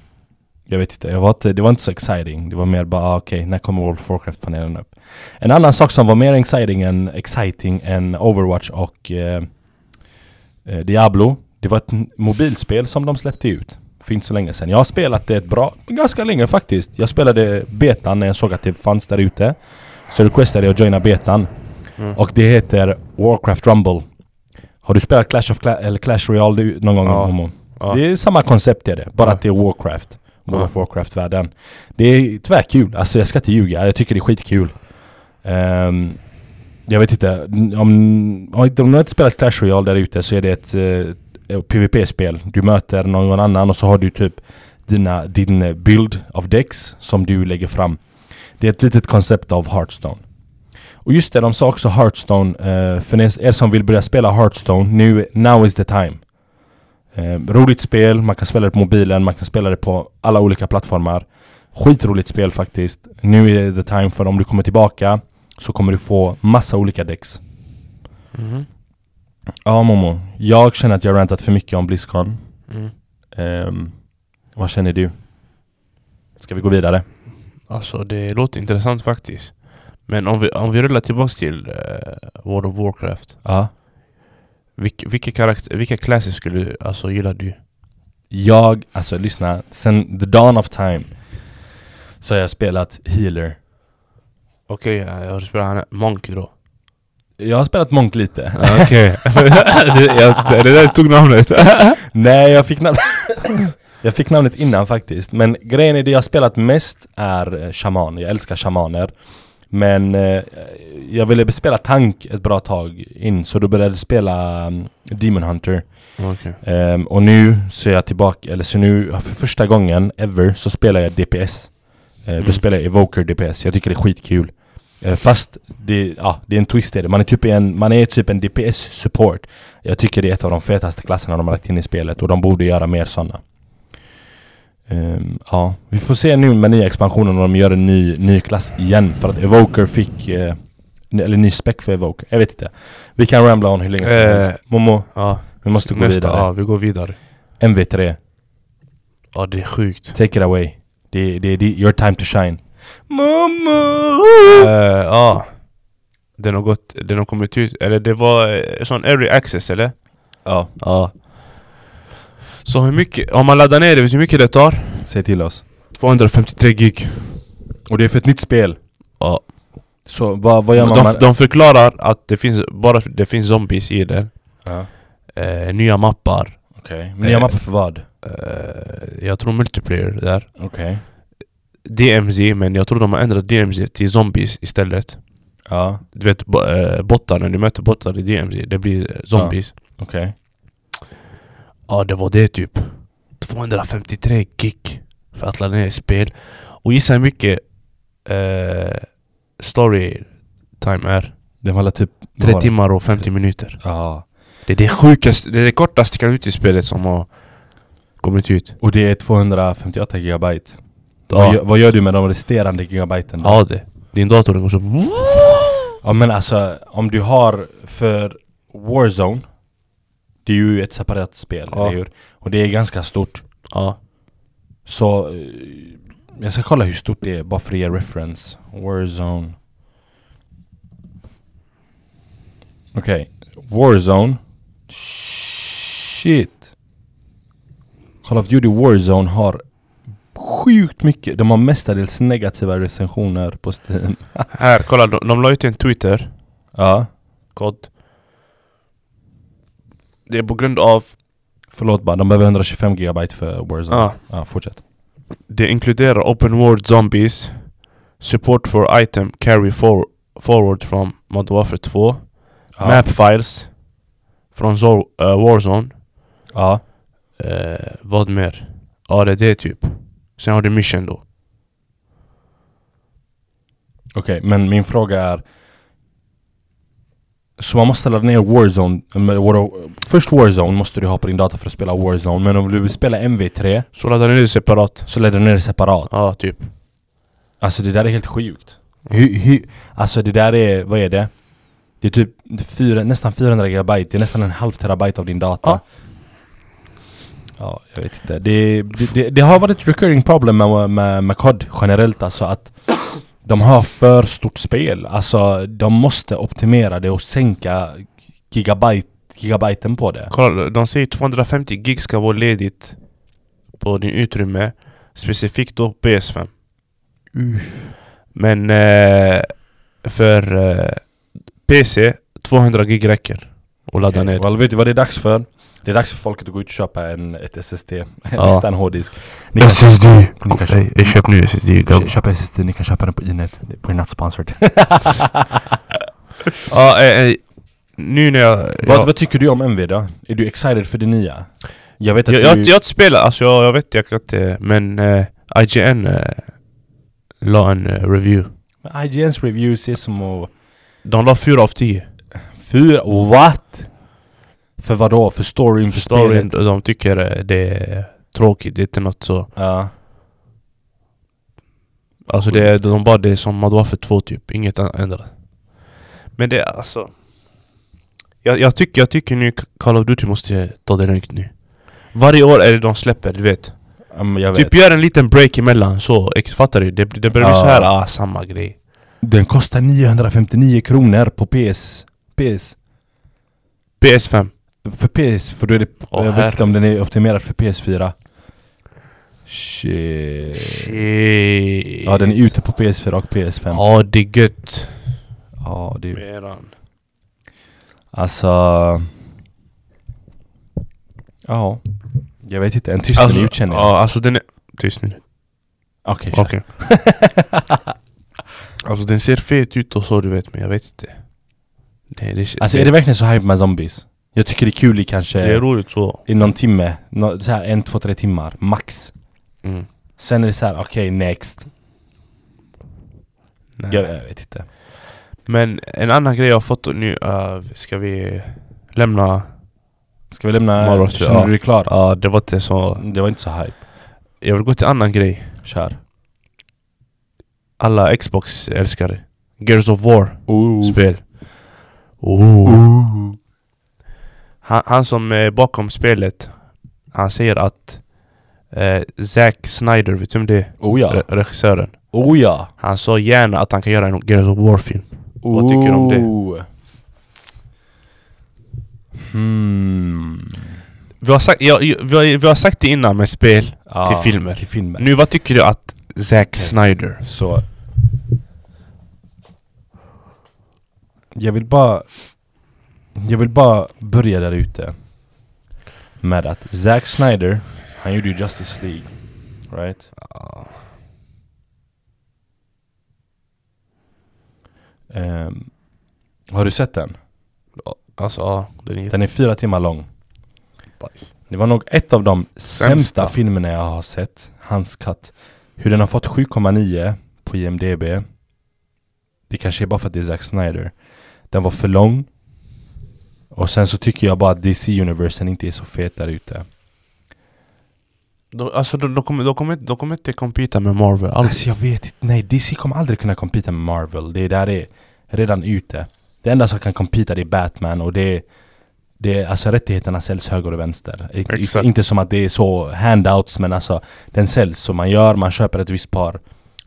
Speaker 1: Jag vet inte, jag var inte, det var inte så exciting. Det var mer bara, ah, okej, när kommer World of Warcraft-panelen upp? En annan sak som var mer exciting än, exciting än Overwatch och eh, eh, Diablo, det var ett n- mobilspel som de släppte ut för inte så länge sedan. Jag har spelat det ett bra, ganska länge faktiskt. Jag spelade betan när jag såg att det fanns där ute. Så requestade jag att joina betan. Och det heter Warcraft Rumble. Har du spelat Clash of Cla- eller Clash Royale du- någon gång?
Speaker 2: Ja.
Speaker 1: Momo?
Speaker 2: Ja.
Speaker 1: Det är samma koncept är det, bara
Speaker 2: Ja.
Speaker 1: att det är Warcraft. World
Speaker 2: Ja.
Speaker 1: of Warcraft-världen. Det är tvärkul, alltså jag ska inte ljuga, jag tycker det är skitkul. Ehm, jag vet inte, om, om inte- om du inte spelat Clash Royale där ute så är det ett eh, PVP-spel. Du möter någon annan och så har du typ dina, din eh, bild av Dex som du lägger fram. Det är ett litet koncept av Hearthstone. Och just det, de sa också Hearthstone, eh, för ni- er som vill börja spela Hearthstone, nu, now is the time. Eh, roligt spel, man kan spela det på mobilen, man kan spela det på alla olika plattformar. Skitroligt spel faktiskt. Nu är det the time för om du kommer tillbaka så kommer du få massa olika decks.
Speaker 2: Mhm.
Speaker 1: Ja Momo, jag känner att jag rantat för mycket om Blizzcon.
Speaker 2: Mm.
Speaker 1: Ehm, vad känner du? Ska vi gå vidare?
Speaker 2: Alltså det låter intressant faktiskt. Men om vi, om vi rullar tillbaks till eh, World of Warcraft.
Speaker 1: Ja.
Speaker 2: Vilka, vilka, karaktär, vilka classes skulle alltså, gillar du?
Speaker 1: Jag, alltså lyssna, sen the dawn of time så har jag spelat healer.
Speaker 2: Okej, okay, jag spelar han Monk då.
Speaker 1: Jag har spelat monk lite.
Speaker 2: Okej. det, där tog namnet.
Speaker 1: Nej, jag fick, namn- jag fick namnet innan faktiskt. Men grejen är det jag spelat mest är eh, shaman. Jag älskar shamaner. Men eh, jag ville spela tank ett bra tag in, så då började jag spela mm, Demon Hunter.
Speaker 2: Okej.
Speaker 1: Ehm, och nu så är jag tillbaka, eller så nu för första gången ever så spelar jag DPS. Eh, Då
Speaker 2: Mm.
Speaker 1: spelar jag Evoker DPS, jag tycker det är skitkul. Eh, fast det, ja, det är en twist i det, man är typ en, man är typ en DPS-support. Jag tycker det är ett av de fetaste klasserna de har lagt in i spelet och de borde göra mer sådana. Ehm, ja, vi får se nu med nya expansionen om de gör en ny, ny klass igen för att Evoker fick eh, ny- eller ny spec för Evoker, jag vet inte. Vi kan ramla on hur länge som
Speaker 2: Eh,
Speaker 1: helst. Momo,
Speaker 2: Ja,
Speaker 1: vi måste gå
Speaker 2: nästa.
Speaker 1: vidare.
Speaker 2: Ja, vi går vidare.
Speaker 1: MV3,
Speaker 2: Ja, det är sjukt.
Speaker 1: take it away. Det, det, det your time to shine. Mamma!
Speaker 2: Eh, Ja. Den har gått, den har kommit ut, eller det var eh, sån early access eller?
Speaker 1: Ja,
Speaker 2: Ja. Så hur mycket, om man laddar ner det, vet du hur mycket det tar?
Speaker 1: säg till oss.
Speaker 2: 253 gig.
Speaker 1: Och det är för ett nytt spel.
Speaker 2: Ja.
Speaker 1: Så vad, vad gör man?
Speaker 2: De,
Speaker 1: med-
Speaker 2: de förklarar att det finns, bara för- det finns zombies i den.
Speaker 1: Ja,
Speaker 2: Eh, nya mappar.
Speaker 1: Okej, men nya
Speaker 2: Eh.
Speaker 1: mappar för vad?
Speaker 2: Eh, jag tror multiplayer där.
Speaker 1: Okej.
Speaker 2: DMZ, men jag tror de har ändrat DMZ till zombies istället.
Speaker 1: Ja,
Speaker 2: Du vet bo, eh, bottar, när du möter bottar i DMZ, det blir eh, zombies. Ja,
Speaker 1: okej.
Speaker 2: det var det typ. 253 gig för att ladda ner ett spel. Och gissa hur mycket eh, story time är?
Speaker 1: Det var alla typ... vad var
Speaker 2: 3
Speaker 1: det?
Speaker 2: timmar och 50 minuter.
Speaker 1: Ja.
Speaker 2: Det är det sjukaste, det är det kortaste kan ut i spelet som har kommit ut.
Speaker 1: Och det är 258 gigabyte. Vad, gör,
Speaker 2: Ja,
Speaker 1: vad gör du med de resterande gigabyten? då?
Speaker 2: ja det. Din dator den går så...
Speaker 1: ja men alltså, om du har för Warzone Det är ju ett separat spel,
Speaker 2: Ja.
Speaker 1: eller hur? Och det är ganska stort.
Speaker 2: Ja.
Speaker 1: Så eh, jag ska kolla hur stort det är bara för att ge reference. Warzone. Okej. Warzone. Shit. Call of Duty Warzone har sjukt mycket. De har mestadels negativa recensioner på Steam.
Speaker 2: Här, kolla. De, de la ut en Twitter.
Speaker 1: Ja.
Speaker 2: God. Det är på grund av...
Speaker 1: Förlåt bara, de behöver 125 gigabyte för Warzone.
Speaker 2: Ja.
Speaker 1: Ja, fortsätt.
Speaker 2: Det inkluderar open world zombies. Support for item carry for, forward from Modern Warfare 2.
Speaker 1: Ja.
Speaker 2: Map files. Från Zor, eh, Warzone.
Speaker 1: Ja.
Speaker 2: Eh, vad mer? Ja, det är det typ. Sen har du mission då.
Speaker 1: Okej, men min fråga är Så man måste ladda ner Warzone men War- Först Warzone måste du ha på din data för att spela Warzone Men om du vill spela MV3
Speaker 2: Så laddar ni det separat.
Speaker 1: så laddar du ner det separat
Speaker 2: Ja, typ.
Speaker 1: Alltså det där är helt sjukt
Speaker 2: Mm.
Speaker 1: hur, hur, Alltså det där är, vad är det? Det är typ fyra, nästan 400 gigabyte, det är nästan en halv terabyte av din data
Speaker 2: Ja.
Speaker 1: Ja, jag vet inte. Det, det, det, det har varit ett recurring problem med, med, med COD generellt alltså att de har för stort spel. Alltså de måste optimera det och sänka gigabyte, gigabyten på det.
Speaker 2: Kolla, de säger 250 gig ska vara ledigt på din utrymme. Specifikt då PS5. Men eh, för eh, PC, 200 gig räcker. Och ladda
Speaker 1: Okej,
Speaker 2: ner.
Speaker 1: Well, vet du vad det är dags för? Det är dags för folket att gå ut och köpa en, ett SSD, en
Speaker 2: Ja.
Speaker 1: extern hårddisk. Ni
Speaker 2: SSD!
Speaker 1: Ni kan köpa-
Speaker 2: Jag köp nu SSD.
Speaker 1: Kö- Köp SSD, ni kan köpa den på Inet. We're not sponsored.
Speaker 2: Ja, eh, eh, nu när jag...
Speaker 1: vad,
Speaker 2: jag
Speaker 1: vad tycker du om MV då? Är du excited för det nya? Jag vet att
Speaker 2: Jag, jag, har
Speaker 1: du...
Speaker 2: inte- jag har inte spelat, alltså jag, jag vet jag kan inte Men eh, IGN eh, la en eh, review
Speaker 1: Men IGN's review ses som att...
Speaker 2: De la 4 av 10
Speaker 1: Fyra? What? För vad då? För storyn? För
Speaker 2: Storyn,
Speaker 1: spelet?
Speaker 2: de tycker eh, det är tråkigt, det är inte något så
Speaker 1: Ja.
Speaker 2: Alltså det, är- de bara det är som att vara för två typ, inget an- ändrat Men det är alltså jag, jag tycker, jag tycker nu Call of Duty måste ta det lugnt nu Varje år är det de släpper, du vet
Speaker 1: Ja, men jag vet.
Speaker 2: Typ gör en liten break emellan så, ex- fattar du? Det, det börjar bli
Speaker 1: Ja.
Speaker 2: så här, ah samma grej
Speaker 1: Den kostar 959 kronor på PS... PS...
Speaker 2: PS5
Speaker 1: För PS... För då är det...
Speaker 2: Åh,
Speaker 1: jag vet
Speaker 2: herre.
Speaker 1: inte om den är optimerad för PS4.
Speaker 2: Eh,
Speaker 1: Shit.
Speaker 2: Shit.
Speaker 1: Ja, den är ute på PS4 och PS5. Ja,
Speaker 2: Ja det är gött
Speaker 1: det är ju... Alltså... Ja. Jag vet inte. En tyst
Speaker 2: Alltså,
Speaker 1: minut känner jag.
Speaker 2: ja, alltså den är... Tyst nu
Speaker 1: Okej, kör.
Speaker 2: Okej Alltså den ser fet ut och så du vet men jag vet inte det, det,
Speaker 1: Alltså är det verkligen så hype med zombies? Jag tycker det är kul i kanske...
Speaker 2: det är roligt så
Speaker 1: I någon timme, nå, så här en, två, tre timmar, max.
Speaker 2: mm.
Speaker 1: Sen är det så här, okej, next.
Speaker 2: Nej.
Speaker 1: Jag, jag vet inte.
Speaker 2: Men en annan grej jag har fått nu, eh, ska vi lämna?
Speaker 1: Ska vi lämna...
Speaker 2: Morgon,
Speaker 1: Känner
Speaker 2: ja.
Speaker 1: du dig klar?
Speaker 2: Ja det var inte så
Speaker 1: Det var inte så hype.
Speaker 2: Jag vill gå till en annan grej
Speaker 1: Kör.
Speaker 2: Alla Xbox älskare Gears of War
Speaker 1: Ooh.
Speaker 2: spel oh. han, han som är bakom spelet Han säger att eh, Zack Snyder, vet du vem det är?
Speaker 1: Oh ja.
Speaker 2: Re- Regissören
Speaker 1: Oh ja.
Speaker 2: Han sa gärna att han kan göra en Gears of War-film Vad tycker du om det?
Speaker 1: Ooh. Hmm.
Speaker 2: vi har, sagt, ja, ja, vi, har, vi har sagt det innan med spel
Speaker 1: Ja,
Speaker 2: Till filmer.
Speaker 1: Till filmer.
Speaker 2: Nu vad tycker du att Zack Snyder
Speaker 1: Så... Jag vill bara... Jag vill bara börja där ute. Med att Zack Snyder, han gjorde ju Justice League. Right? Ehm, har du sett den?
Speaker 2: Alltså ja, den är
Speaker 1: Den är fyra timmar lång.
Speaker 2: jättebajs
Speaker 1: Det var nog ett av de sämsta,
Speaker 2: Sämsta.
Speaker 1: filmerna jag har sett. Hans cut. Hur den har fått 7,9 på IMDB. Det kanske är bara för att det är Zack Snyder. Den var för lång. Och sen så tycker jag bara att DC-universen inte är så fet där ute.
Speaker 2: de, Alltså de, de, kommer, de, kommer, inte- de kommer inte competa med Marvel alls
Speaker 1: Alltså jag vet inte. Nej, DC kommer aldrig kunna competa med Marvel. Det där är redan ute. Det enda som kan competa det är Batman och det är... Det är alltså rättigheterna säljs höger och vänster. Inte-
Speaker 2: Exakt.
Speaker 1: Inte som att det är så handouts men alltså den säljs. Så man gör, man köper ett visst par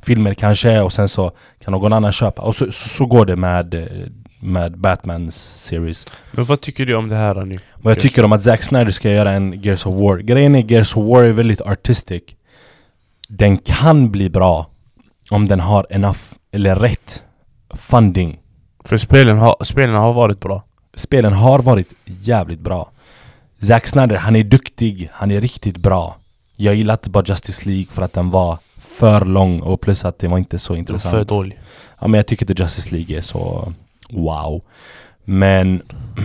Speaker 1: filmer kanske och sen så kan någon annan köpa. Och så, så, så går det med, eh, med Batmans series.
Speaker 2: Men vad tycker du om det här nu?
Speaker 1: Vad jag
Speaker 2: Yes.
Speaker 1: tycker om att Zack Snyder ska göra en Gears of War. Grejen är Gears of War är väldigt artistic. Den kan bli bra om den har enough, eller rätt, funding.
Speaker 2: För spelen har, spelen har varit bra
Speaker 1: Spelen har varit jävligt bra. Zack Snyder, han är duktig, han är riktigt bra. Jag gillar inte bara Justice League för att den var för lång och plus att det var inte så
Speaker 2: Den är
Speaker 1: intressant.
Speaker 2: för dålig
Speaker 1: Ja men jag tycker inte Justice League är så wow. Men...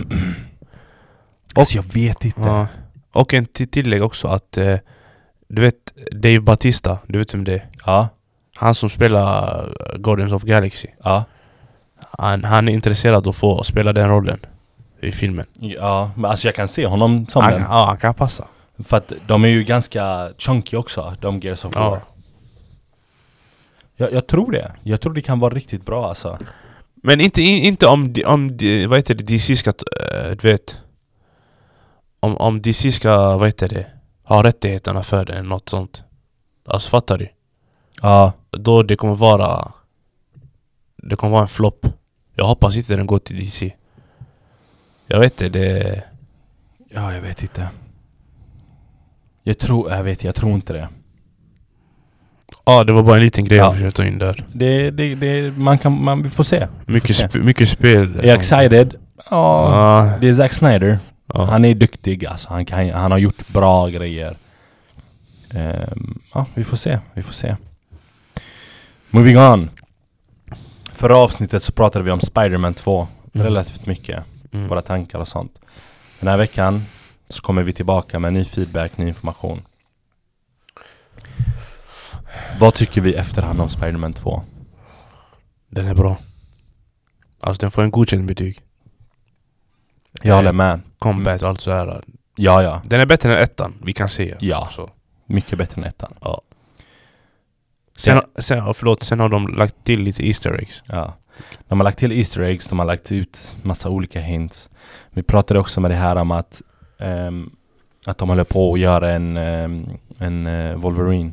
Speaker 1: alltså jag vet inte.
Speaker 2: Ja. Och en till- tillägg också att eh, Du vet Dave Batista, du vet vem det är?
Speaker 1: Ja,
Speaker 2: Han som spelar eh, Guardians of Galaxy
Speaker 1: ja.
Speaker 2: han, han är intresserad av att få spela den rollen i filmen
Speaker 1: Ja, men alltså jag kan se honom som
Speaker 2: han,
Speaker 1: den.
Speaker 2: ja, han kan passa
Speaker 1: För att de är ju ganska chunky också, de Gears of War.
Speaker 2: ja.
Speaker 1: Jag, jag tror det. Jag tror det kan vara riktigt bra alltså.
Speaker 2: Men inte, in- inte om, D- om D- vad heter det, DC ska, eh, du vet om, om DC ska, vad heter det, ha rättigheterna för det eller något sånt Alltså fattar du?
Speaker 1: Ja.
Speaker 2: Då det kommer vara Det kommer vara en flopp Jag hoppas inte den går till DC Jag vet inte, det...
Speaker 1: Ja, jag vet inte. Jag tror, jag vet, jag tror inte det.
Speaker 2: Ja, ah, det var bara en liten grej
Speaker 1: Ja.
Speaker 2: jag försökte ta in där
Speaker 1: Det, det, det man kan, man, vi får se. Vi
Speaker 2: Mycket,
Speaker 1: får se.
Speaker 2: sp mycket spel
Speaker 1: Är jag excited? Ja.
Speaker 2: Ja,
Speaker 1: Det är Zack Snyder.
Speaker 2: ja.
Speaker 1: Han är duktig alltså. Han, kan, han har gjort bra grejer. Ehm, ja, vi får se. Vi får se. Moving on. Förra avsnittet så pratade vi om Spider-Man 2.
Speaker 2: Mm.
Speaker 1: Relativt mycket.
Speaker 2: Mm.
Speaker 1: Våra tankar och sånt. Den här veckan Så kommer vi tillbaka med ny feedback, ny information. Vad tycker vi efterhand om Spiderman 2?
Speaker 2: Den är bra. Alltså den får en godkänd betyg. Eh.
Speaker 1: Jag håller med.
Speaker 2: Combat och allt så här.
Speaker 1: Ja, ja.
Speaker 2: Den är bättre än ettan, vi kan säga.
Speaker 1: Ja.
Speaker 2: Så.
Speaker 1: Mycket bättre än ettan.
Speaker 2: Ja. Sen, sen, ja, förlåt, sen har de lagt till lite Easter eggs.
Speaker 1: Ja. De har lagt till Easter eggs, de har lagt ut massa olika hints. Vi pratade också med det här om att, ehm, att de håller på att göra en, ehm, en eh, Wolverine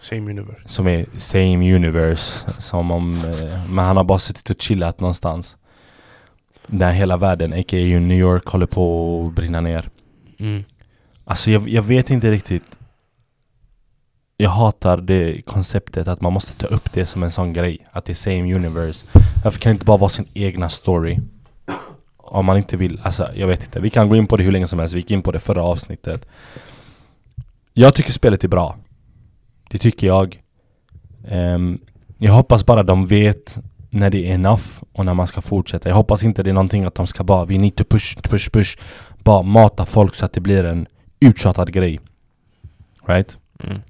Speaker 2: Same universe.
Speaker 1: som är same universe. Som om, eh, men han har bara suttit och chillat någonstans. Där hela världen, a.k.a. New York, håller på att brinna ner.
Speaker 2: Mm.
Speaker 1: Alltså jag, jag vet inte riktigt. Jag hatar det konceptet att man måste ta upp det som en sån grej. Att det är same universe. Varför kan det inte bara vara sin egna story? Om man inte vill. Alltså jag vet inte. Vi kan gå in på det hur länge som helst. Vi gick in på det förra avsnittet. Jag tycker spelet är bra. Det tycker jag. Ehm, jag hoppas bara de vet när det är enough och när man ska fortsätta. Jag hoppas inte det är någonting att de ska bara, vi need to push, push, push. Bara mata folk så att det blir en uttjatad grej. Right?
Speaker 2: Mm.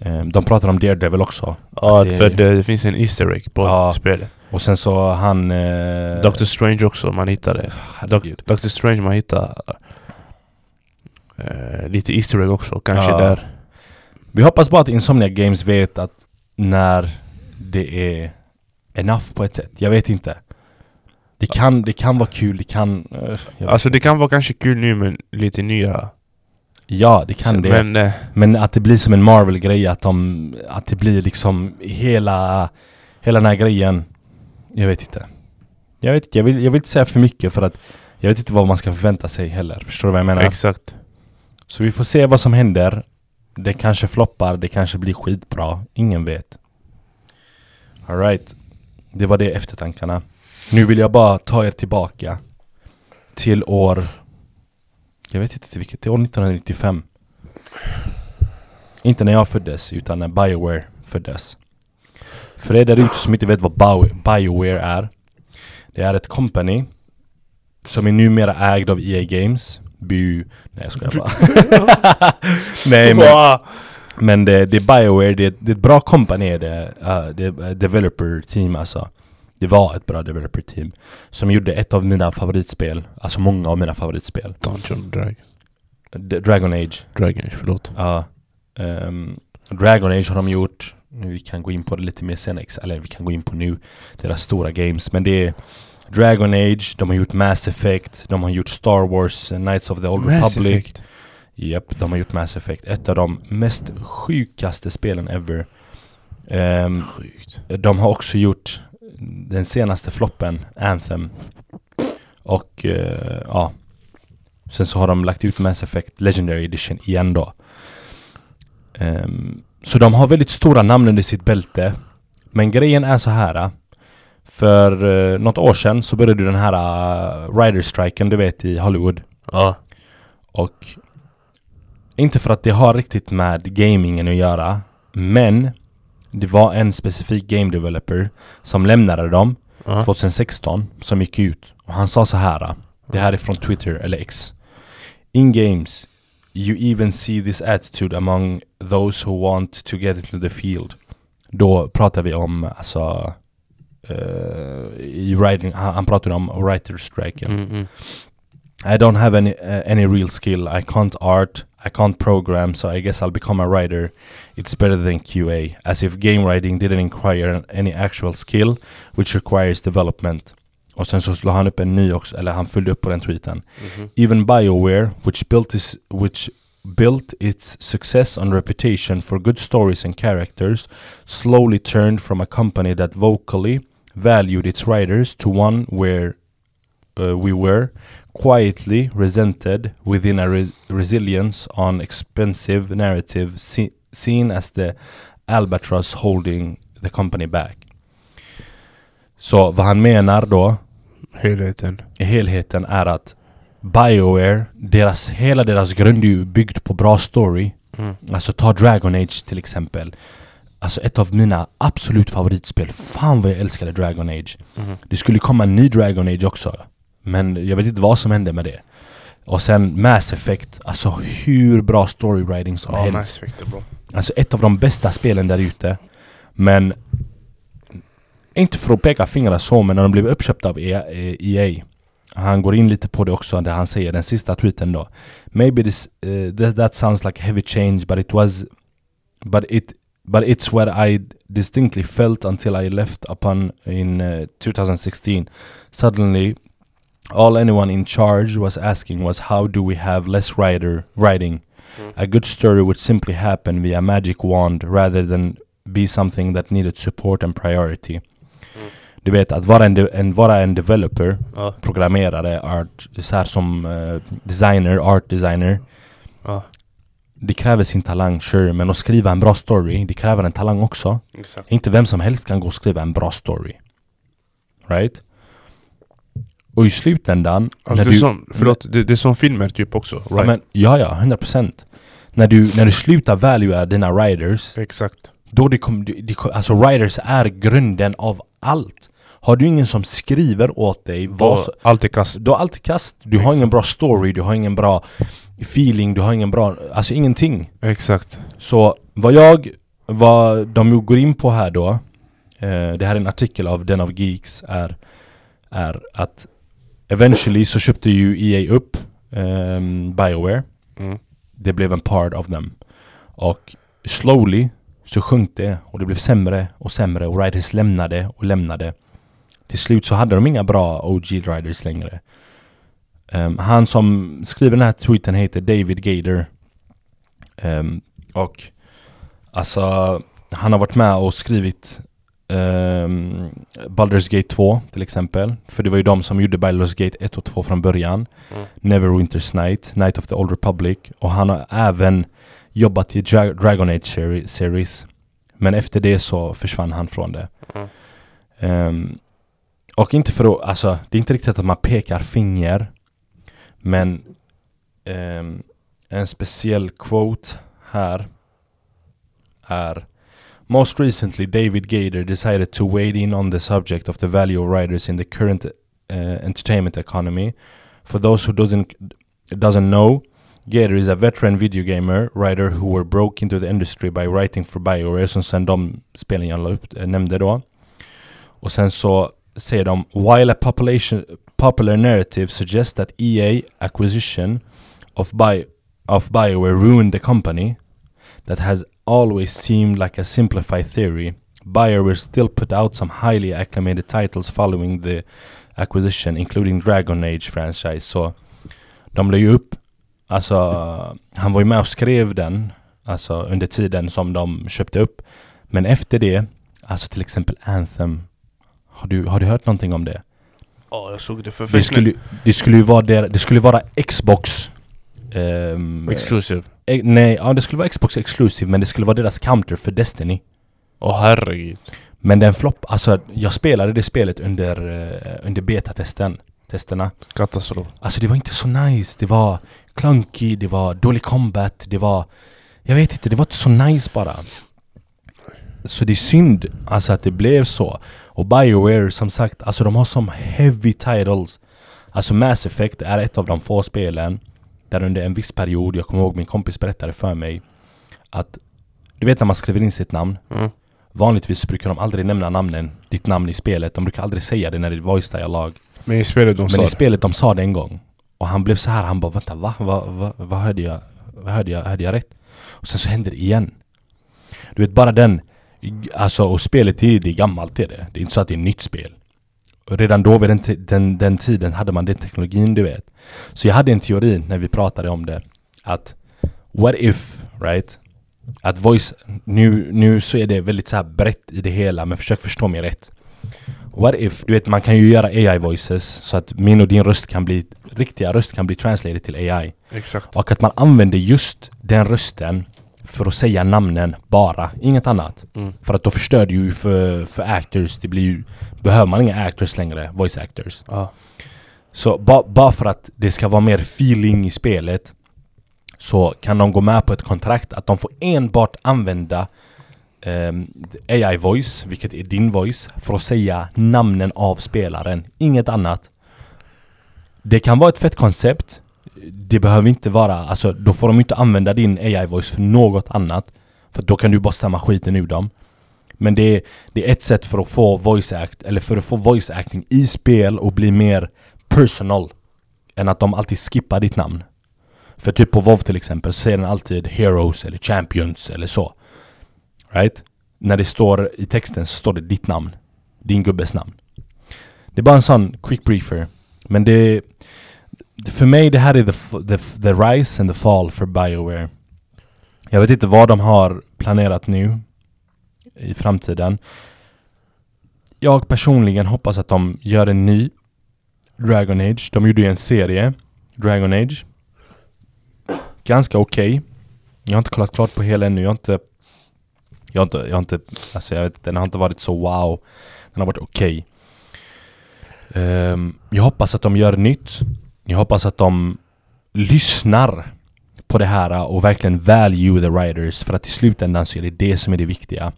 Speaker 1: Ehm, de pratar om Daredevil också.
Speaker 2: Ja,
Speaker 1: Att det-
Speaker 2: för det, det finns en Easter egg på
Speaker 1: Ja.
Speaker 2: spelet.
Speaker 1: Och sen så han... Eh,
Speaker 2: Doctor Strange också, man hittade.
Speaker 1: herregud.
Speaker 2: Doctor Strange, man hittar eh, lite Easter egg också, kanske
Speaker 1: Ja.
Speaker 2: där.
Speaker 1: Vi hoppas bara att Insomnia Games vet att när det är enough på ett sätt. Jag vet inte. Det kan, det kan vara kul, det kan... eh, jag vet
Speaker 2: Alltså det kan vara kanske kul nu med lite nya...
Speaker 1: Ja, det kan det. Men,
Speaker 2: Men eh,
Speaker 1: att det blir som en Marvel-grej, att, de, att det blir liksom hela, hela den här grejen. Jag vet inte. Jag, vet, jag, vill, jag vill inte säga för mycket för att jag vet inte vad man ska förvänta sig heller. Förstår du vad jag menar?
Speaker 2: exakt.
Speaker 1: Så vi får se vad som händer. Det kanske floppar, det kanske blir skitbra. Ingen vet. Alright. Det var det eftertankarna. Nu vill jag bara ta er tillbaka till år... Jag vet inte till vilket. Till år 1995. Inte när jag föddes, utan när Bioware föddes. För er där ute som inte vet vad Bio- Bioware är. Det är ett company som är numera ägd av EA Games. Bu... Nej jag skojar bara. Nej men... Men det, det är Bioware, det, det är ett bra company är det, uh, det är ett developer team alltså. Det var ett bra developer team. Som gjorde ett av mina favoritspel, alltså många av mina favoritspel.
Speaker 2: Dungeon Drag
Speaker 1: D- Dragon Age.
Speaker 2: Dragon, förlåt.
Speaker 1: Ja. Ehm, Dragon Age har de gjort. Vi kan gå in på det lite mer sen, ex- eller vi kan gå in på nu. Deras stora games. Men det är Dragon Age, de har gjort Mass Effect, de har gjort Star Wars, eh, Knights of the Old Republic.
Speaker 2: Effect.
Speaker 1: Japp, de har gjort Mass Effect. Ett av de mest sjukaste spelen ever. Ehm,
Speaker 2: Sjukt.
Speaker 1: de har också gjort den senaste floppen, Anthem. Och eh, ja. Sen så har de lagt ut Mass Effect Legendary Edition igen då. Ehm, så de har väldigt stora namn under sitt bälte. Men grejen är så här. eh, För uh, något år sedan så började den här uh, Rider-striken du vet i Hollywood.
Speaker 2: Ja.
Speaker 1: Och inte för att det har riktigt med gamingen att göra, men det var en specifik game developer som lämnade dem
Speaker 2: Ja.
Speaker 1: 2016 som gick ut och han sa så här. Det här är från Twitter eller X. In games, you even see this attitude among those who want to get into the field. Då pratar vi om alltså eh, i writing, han, han pratade om writer striken.
Speaker 2: Mm, mm.
Speaker 1: I don't have any uh, any real skill. I can't art. I can't program. So I guess I'll become a writer. It's better than QA, as if game writing didn't require any actual skill, which requires development. Och sen så slår han upp en ny också, eller han följde upp på den tweeten.
Speaker 2: Mhm.
Speaker 1: Even BioWare, which built this, which built its success on reputation for good stories and characters, slowly turned from a company that vocally valued its writers to one where uh, we were quietly resented within a re- resilience on expensive narrative se- seen as the albatross holding the company back. Så vad han menar då
Speaker 2: Helheten.
Speaker 1: i helheten är att Bioware, deras, hela deras grund är ju byggt på bra story.
Speaker 2: Mm.
Speaker 1: Alltså ta Dragon Age till exempel. Alltså ett av mina absolut favoritspel. Fan vad jag älskade Dragon Age.
Speaker 2: Mhm.
Speaker 1: Det skulle komma en ny Dragon Age också. Men jag vet inte vad som hände med det. Och sen Mass Effect, alltså hur bra storywriting som
Speaker 2: Ja,
Speaker 1: helst.
Speaker 2: Mass Effect är bra.
Speaker 1: Alltså ett av de bästa spelen där ute. Men... Inte för att peka fingrar så, men när de blev uppköpta av EA, eh, EA. Han går in lite på det också, där han säger den sista tweeten då. Maybe this, eh, that, that sounds like a heavy change, but it was... But it... But it's where I distinctly felt until I left upon in eh, 2016. Suddenly, all anyone in charge was asking was how do we have less rider riding? A good story would simply happen via magic wand rather than be something that needed support and priority. Du vet, att vara en, de- en, vara en developer,
Speaker 2: Ja.
Speaker 1: programmerare, art, så här som eh, designer, art designer.
Speaker 2: Ja,
Speaker 1: Det kräver sin talang, sure, men att skriva en bra story, det kräver en talang också.
Speaker 2: exakt.
Speaker 1: Inte vem som helst kan gå och skriva en bra story. Right? Och i slutändan...
Speaker 2: Alltså
Speaker 1: när
Speaker 2: det är som, förlåt, det, det är som filmer typ också. Right?
Speaker 1: ja, men, ja, ja, 100%. När du, när du slutar valuea dina riders,
Speaker 2: Exakt.
Speaker 1: Då det kom, det, det kom, alltså writers är grunden av allt. Har du ingen som skriver åt dig, vad
Speaker 2: Då,
Speaker 1: så,
Speaker 2: allt är kast.
Speaker 1: då är allt i kast. Du har
Speaker 2: Exakt.
Speaker 1: ingen bra story, du har ingen bra feeling, du har ingen bra, alltså ingenting.
Speaker 2: Exakt.
Speaker 1: Så vad jag, vad de går in på här då, eh, det här är en artikel av Den av Geeks, är, är att eventually så köpte ju EA upp ehm, Bioware
Speaker 2: Mm.
Speaker 1: det blev en part of them. Och slowly så sjönk det och det blev sämre och sämre och riders lämnade och lämnade. Till slut så hade de inga bra OG riders längre. Ehm, han som skriver den här tweeten heter David Gader. Ehm, och alltså han har varit med och skrivit ehm, Baldur's Gate 2 till exempel. För det var ju de som gjorde Baldur's Gate 1 och 2 från början. Neverwinter's Night, Night of the Old Republic och han har även jobbat i Dra- Dragon Age seri- series. Men efter det så försvann han från det.
Speaker 2: Mm.
Speaker 1: Ehm, och inte för att, alltså det är inte riktigt att man pekar finger. Men ehm, en speciell quote här är Most recently David Gader decided to wade in on the subject of the value of writers in the current uh, entertainment economy. For those who doesn't doesn't know, Gator is a veteran video gamer writer who were broke into the industry by writing for Bioware som sen de spelen jag la upp, eh, nämnde då. Och sen så säger de While a population, popular narrative suggests that EA acquisition of, Bi of Bioware ruined the company that has always seemed like a simplified theory. Bioware still put out some highly acclaimed titles following the acquisition, including Dragon Age franchise. Så de la ju upp, alltså han var ju med och skrev den, alltså under tiden som de köpte upp. Men efter det, alltså till exempel Anthem, har du, har du hört någonting om det?
Speaker 2: Ja, jag såg det för
Speaker 1: Det skulle, det skulle ju vara, der, det skulle vara Xbox ehm,
Speaker 2: Exclusive.
Speaker 1: Eh, Nej, ja det skulle vara Xbox Exclusive men det skulle vara deras counter för Destiny.
Speaker 2: Åh herregud.
Speaker 1: Men den flopp, alltså jag spelade det spelet under, eh, under betatesten. Testerna.
Speaker 2: Katastrof.
Speaker 1: Alltså det var inte så nice, det var clunky, det var dålig combat, det var... Jag vet inte, det var inte så nice bara. Så det är synd alltså att det blev så. Och Bioware som sagt, alltså de har som heavy titles. Alltså Mass Effect är ett av de få spelen där under en viss period, jag kommer ihåg min kompis berättade för mig att du vet när man skriver in sitt namn
Speaker 2: Mm.
Speaker 1: Vanligtvis brukar de aldrig nämna namnen, ditt namn i spelet. De brukar aldrig säga det när det är voice dialog.
Speaker 2: Men i spelet de sa
Speaker 1: Men i
Speaker 2: det.
Speaker 1: spelet de sa det en gång Och han blev så här, han bara vänta va? Vad va, vad hörde jag? Vad hörde jag? Hörde jag rätt? Och sen så händer det igen Du vet bara den Alltså och spelet är, det är gammalt är det Det är inte så att det är nytt spel och Redan då vid den, ti- den, den tiden hade man den teknologin du vet Så jag hade en teori när vi pratade om det Att What if, right? Att voice, nu, nu så är det väldigt så här brett i det hela men försök förstå mig rätt What if, du vet man kan ju göra AI voices så att min och din röst kan bli, riktiga röst kan bli translated till AI.
Speaker 2: Exakt.
Speaker 1: Och att man använder just den rösten för att säga namnen bara, inget annat.
Speaker 2: Mm.
Speaker 1: För att då förstör det ju för, för actors, det blir ju, behöver man inga actors längre, voice actors.
Speaker 2: Ja.
Speaker 1: Så ba- bara för att det ska vara mer feeling i spelet så kan de gå med på ett kontrakt att de får enbart använda ehm, AI voice, vilket är din voice, för att säga namnen av spelaren. Inget annat. Det kan vara ett fett koncept. det behöver inte vara, alltså då får de inte använda din AI-voice för något annat. För då kan du bara stämma skiten ur dem. Men det är, det är ett sätt för att få voice act, eller för att få voice acting i spel och bli mer personal. Än att de alltid skippar ditt namn. För typ på WoW till exempel så säger den alltid Heroes eller Champions eller så. Right? När det står i texten så står det ditt namn. Din gubbes namn. Det är bara en sån quick briefer. Men det... För mig det här är the, f- the, f- the rise and the fall för Bioware. Jag vet inte vad de har planerat nu i framtiden. Jag personligen hoppas att de gör en ny Dragon Age. De gjorde ju en serie, Dragon Age. Ganska okej. Jag har inte kollat klart på hela ännu. Jag har inte... Jag har inte... Jag har inte alltså jag vet, den har inte varit så wow. Den har varit okej. Ehm, jag hoppas att de gör nytt. Jag hoppas att de lyssnar på det här och verkligen value the writers för att i slutändan så är det det som är det viktiga.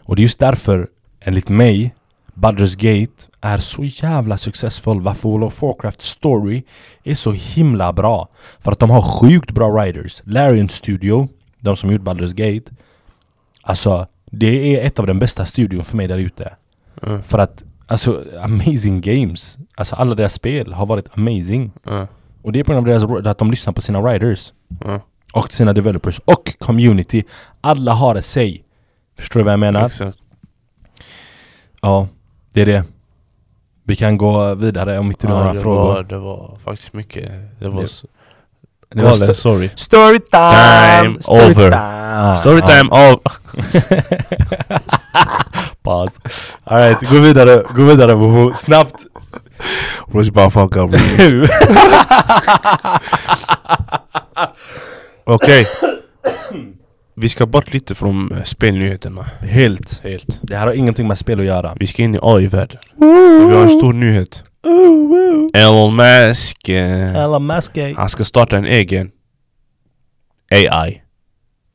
Speaker 1: Och det är just därför, enligt mig, Baldur's Gate är så jävla successful. Varför World of Warcraft Story är så himla bra. För att de har sjukt bra writers. Larian Studio, de som gjort Baldur's Gate. Alltså, det är ett av de bästa studion för mig där ute.
Speaker 2: Mm.
Speaker 1: För att, alltså, amazing games. Alltså alla deras spel har varit amazing.
Speaker 2: Ja.
Speaker 1: Och det är på grund av deras, att de lyssnar på sina writers.
Speaker 2: Ja.
Speaker 1: Och sina developers och community. Alla har det sig. Förstår du vad jag menar?
Speaker 2: Exakt.
Speaker 1: Ja, det är det. Vi kan gå vidare om inte du har
Speaker 2: Ja,
Speaker 1: några
Speaker 2: det,
Speaker 1: frågor.
Speaker 2: var, det var faktiskt mycket. Det var...
Speaker 1: Det-
Speaker 2: s-
Speaker 1: det
Speaker 2: var
Speaker 1: var
Speaker 2: st-
Speaker 1: det.
Speaker 2: sorry.
Speaker 1: Storytime!
Speaker 2: Time over. Ah, Storytime av...
Speaker 1: Paus. Alright, gå vidare. Gå vidare Bobo. Snabbt.
Speaker 2: Where's my fuck up? Okej. Vi ska bort lite från eh, spelnyheterna.
Speaker 1: Helt.
Speaker 2: Helt.
Speaker 1: Det här har ingenting med spel att göra.
Speaker 2: Vi ska in i AI-världen. Och Vi har en stor nyhet. Elon Musk. eh,
Speaker 1: Elon Musk.
Speaker 2: Han ska starta en egen AI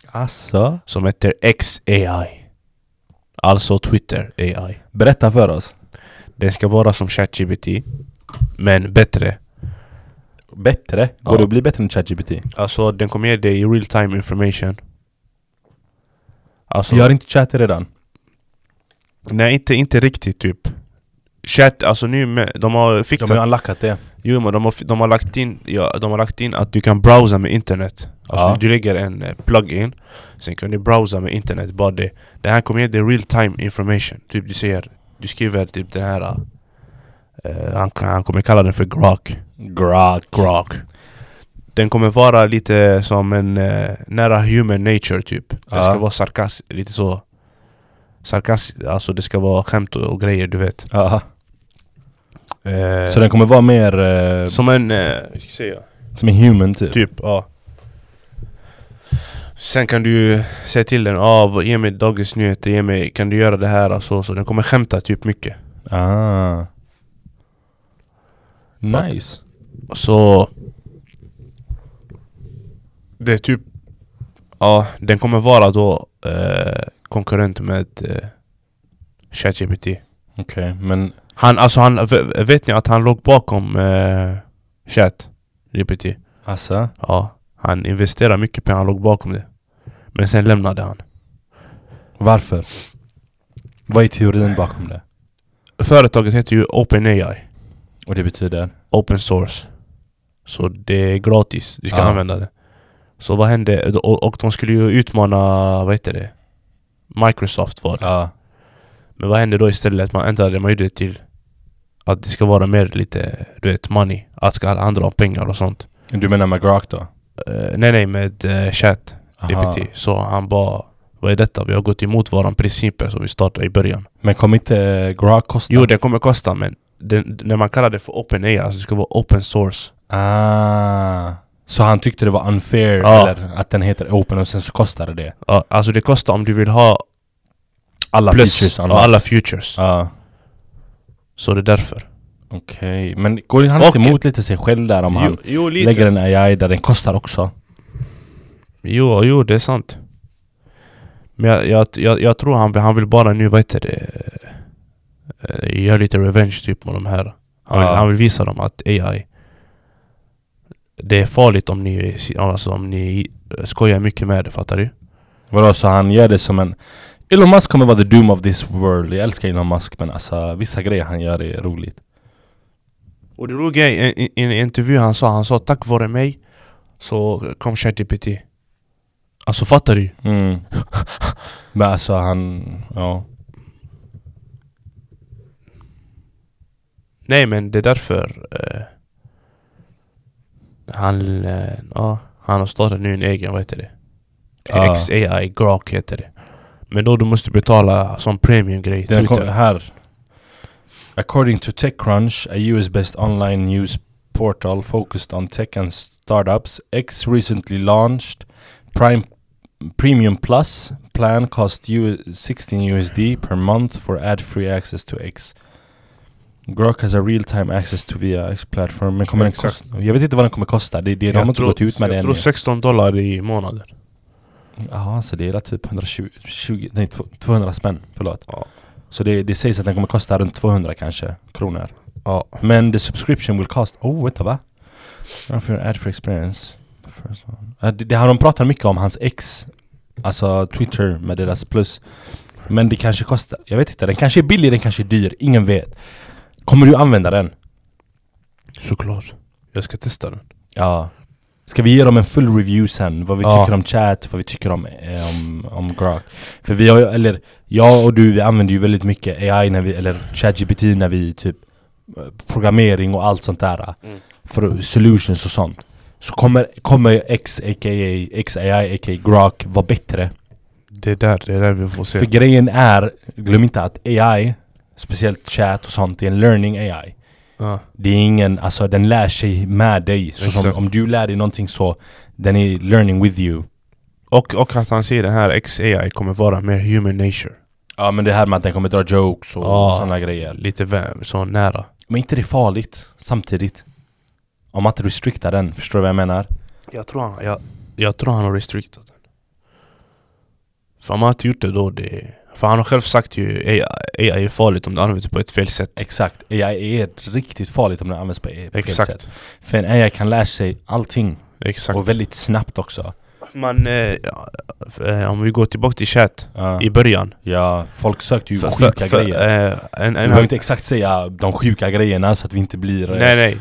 Speaker 1: Alltså?
Speaker 2: som heter XAI. Alltså Twitter AI.
Speaker 1: Berätta för oss.
Speaker 2: Den ska vara som ChatGPT, men bättre.
Speaker 1: Bättre? Går
Speaker 2: Ja.
Speaker 1: det att bli bättre än ChatGPT?
Speaker 2: Alltså den kommer ge dig real time information. Alltså,
Speaker 1: Gör inte chat redan?
Speaker 2: nej inte, inte riktigt typ. Chat, alltså nu med, de har fixat...
Speaker 1: De har ju unlockat det.
Speaker 2: Jo men de har, de har lagt in, ja, de har lagt in att du kan browsa med internet Alltså
Speaker 1: Ja.
Speaker 2: du lägger en eh, plugin Sen kan du browsa med internet, bara det Det här kommer ge dig real time information Typ du ser, du skriver typ den här eh, han, han kommer kalla den för grok
Speaker 1: Grok.
Speaker 2: Grok Den kommer vara lite som en eh, nära human nature typ Den
Speaker 1: Ja.
Speaker 2: ska vara sarkastisk, lite så Sarkastisk, alltså det ska vara skämt och, och grejer du vet
Speaker 1: Aha.
Speaker 2: Eh,
Speaker 1: Så den kommer vara mer eh,
Speaker 2: Som en, eh, hur ska jag säga?
Speaker 1: som en human typ?
Speaker 2: Typ, ja. Sen kan du ju säga till den, ah, vad- ge mig dagens nyheter, ge mig, kan du göra det här och så, så den kommer skämta typ mycket.
Speaker 1: Ah. Nice.
Speaker 2: Så... Det är typ... Ja, den kommer vara då eh, konkurrent med eh, ChatGPT.
Speaker 1: Okej, men
Speaker 2: Han, alltså han, v- vet ni att han låg bakom eh, ChatGPT?
Speaker 1: alltså?
Speaker 2: Ja, han investerade mycket pengar, han låg bakom det. Men sen lämnade han.
Speaker 1: Varför? Vad är teorin bakom det?
Speaker 2: Företaget heter ju OpenAI,
Speaker 1: Och det betyder?
Speaker 2: Open Source. Så det är gratis, du ska
Speaker 1: Ja.
Speaker 2: använda det. Så vad hände? Och, och de skulle ju utmana, vad heter det? Microsoft var det.
Speaker 1: Ja.
Speaker 2: Men vad hände då istället? Man ändrade det, man gjorde det till att det ska vara mer lite, du vet, money. Att det ska handla om pengar och sånt.
Speaker 1: Du menar med Grok då?
Speaker 2: Eh, nej, nej, med eh, chat,
Speaker 1: Aha.
Speaker 2: GPT. Så han bara, vad är detta? Vi har gått emot våra principer som vi startade i början.
Speaker 1: Men kommer inte Grok kosta?
Speaker 2: Jo, det kommer kosta, men den, när man kallar det för OpenAI, alltså det ska vara open source.
Speaker 1: Ah. Så han tyckte det var unfair
Speaker 2: Ja.
Speaker 1: eller att den heter open och sen så kostade det?
Speaker 2: Ja, alltså det kostar om du vill ha
Speaker 1: Alla
Speaker 2: plus
Speaker 1: features
Speaker 2: ja, alla features.
Speaker 1: Ja.
Speaker 2: Så det är därför.
Speaker 1: Okej, men går han inte
Speaker 2: Och-
Speaker 1: emot lite sig själv där om han
Speaker 2: jo,
Speaker 1: lägger en AI där den kostar också?
Speaker 2: Jo, jo, det är sant. Men jag, jag, jag, jag tror han, vill- han vill bara nu, vad heter det? eh, Göra lite revenge typ med de här. Han, vill,
Speaker 1: Ja.
Speaker 2: han vill visa dem att AI det är farligt om ni, alltså om ni skojar mycket med det, fattar du?
Speaker 1: Vadå, så han gör det som en... Elon Musk kommer vara the doom of this world. Jag älskar Elon Musk men alltså vissa grejer han gör är roligt.
Speaker 2: Och det roliga i i- i en intervju han sa, han sa tack vare mig så kom ChatGPT Alltså fattar du?
Speaker 1: Mm. men alltså han... Ja.
Speaker 2: Nej men det är därför eh, Han, eh, ja, han har startat nu en egen, vad heter det?
Speaker 1: Ah.
Speaker 2: XAI, Grok heter det Men då du måste betala som premiumgrej
Speaker 1: Den kom,
Speaker 2: Twitter.
Speaker 1: här. According to TechCrunch, a US-based online news portal focused on tech and startups, X recently launched Prime Premium Plus plan cost U 16 USD per month for ad-free access to X. Grok has a real-time access to via X platform. Men kommer den
Speaker 2: Exakt.
Speaker 1: kosta, jag vet inte vad den kommer kosta. Det, det, de har inte gått ut med det
Speaker 2: jag
Speaker 1: ännu.
Speaker 2: tror 16 dollar i månaden
Speaker 1: Ja, så det är typ 120, 20, nej, 200 spänn. Förlåt.
Speaker 2: Ja.
Speaker 1: Så det, det sägs att den kommer kosta runt 200 kanske kronor.
Speaker 2: Ja.
Speaker 1: Men the subscription will cost... Oh, vänta va? Run for your ad for experience. The first one. Ja, det, det har de pratat mycket om, hans ex. Alltså Twitter med deras plus. Men det kanske kostar... Jag vet inte, den kanske är billig, den kanske är dyr. Ingen vet. Kommer du använda den?
Speaker 2: Såklart Jag ska testa den
Speaker 1: Ja. Ska vi ge dem en full review sen? Vad vi
Speaker 2: Ja.
Speaker 1: tycker om chat, vad vi tycker om, eh, om, om Grok. För vi har ju, eller jag och du, vi använder ju väldigt mycket AI när vi, eller ChatGPT när vi typ eh, programmering och allt sånt där. eh, För solutions och sånt. Så kommer, kommer X, aka, XAI, aka Grok vara bättre?
Speaker 2: Det är där, det är där vi får se
Speaker 1: För grejen är, glöm inte att AI, speciellt chat och sånt, det är en learning AI.
Speaker 2: ja.
Speaker 1: Det är ingen, alltså den lär sig med dig. Så som,
Speaker 2: Exakt.
Speaker 1: om du lär dig någonting så, den är learning with you.
Speaker 2: och, och att han säger den här XAI kommer vara mer human nature
Speaker 1: Ja men det här med att den kommer dra jokes och
Speaker 2: Ja.
Speaker 1: sådana grejer.
Speaker 2: Lite vä- så nära
Speaker 1: Men inte det är farligt samtidigt. Om man inte restriktar den, förstår du vad jag menar?
Speaker 2: Jag tror han, jag, jag tror han har restriktat den. För om han inte gjort det då, det... För han har själv sagt ju AI, AI är farligt om det används på ett fel sätt.
Speaker 1: Exakt, AI är riktigt farligt om den används på e- på fel
Speaker 2: Exakt.
Speaker 1: sätt. För en AI kan lära sig allting
Speaker 2: Exakt.
Speaker 1: och väldigt snabbt också.
Speaker 2: Man, eh, ja, f- eh, om vi går tillbaka till chat
Speaker 1: Ja,
Speaker 2: i början.
Speaker 1: ja folk sökte ju
Speaker 2: För-
Speaker 1: sjuka
Speaker 2: för- för,
Speaker 1: grejer.
Speaker 2: eh, en,
Speaker 1: Du
Speaker 2: en
Speaker 1: behöver
Speaker 2: hade,
Speaker 1: inte exakt säga de sjuka grejerna så att vi inte blir... eh,
Speaker 2: nej nej.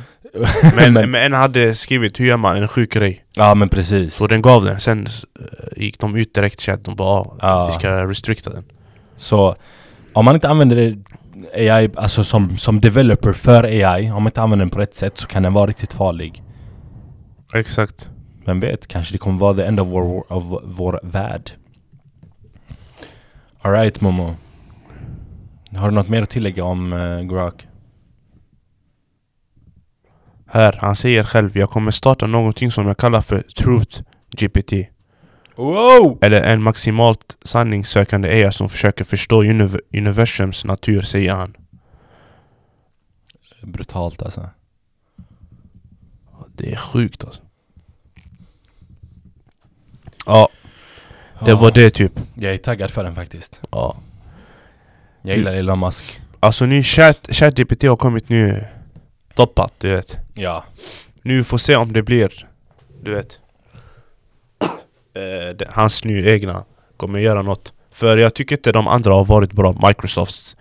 Speaker 2: Men, men en hade skrivit hur gör man en sjuk grej?
Speaker 1: Ja men precis.
Speaker 2: Så den gav den. Sen eh, gick de ut direkt chat. De bara ah,
Speaker 1: Ja.
Speaker 2: vi ska restrikta den.
Speaker 1: Så om man inte använder det- AI, alltså som, som developer för AI, om man inte använder den på rätt sätt så kan den vara riktigt farlig.
Speaker 2: Exakt.
Speaker 1: Vem vet, kanske det kommer vara the end of vår, av vår värld. Alright Momo. Har du något mer att tillägga om eh, Grok?
Speaker 2: Här, han säger själv jag kommer starta någonting som jag kallar för Truth GPT.
Speaker 1: Wow!
Speaker 2: Eller en maximalt sanningssökande AI som försöker förstå univ- universums natur, säger han.
Speaker 1: Brutalt alltså.
Speaker 2: Det är sjukt alltså. Ja, det var det typ.
Speaker 1: Jag är taggad för den faktiskt.
Speaker 2: Ja.
Speaker 1: Jag gillar Elon Musk.
Speaker 2: Alltså nu, chat- ChatGPT har kommit nu. Toppat, du vet.
Speaker 1: Ja.
Speaker 2: Nu får se om det blir, du vet. Eh, det- hans nu egna kommer göra något. För jag tycker inte de andra har varit bra. Microsofts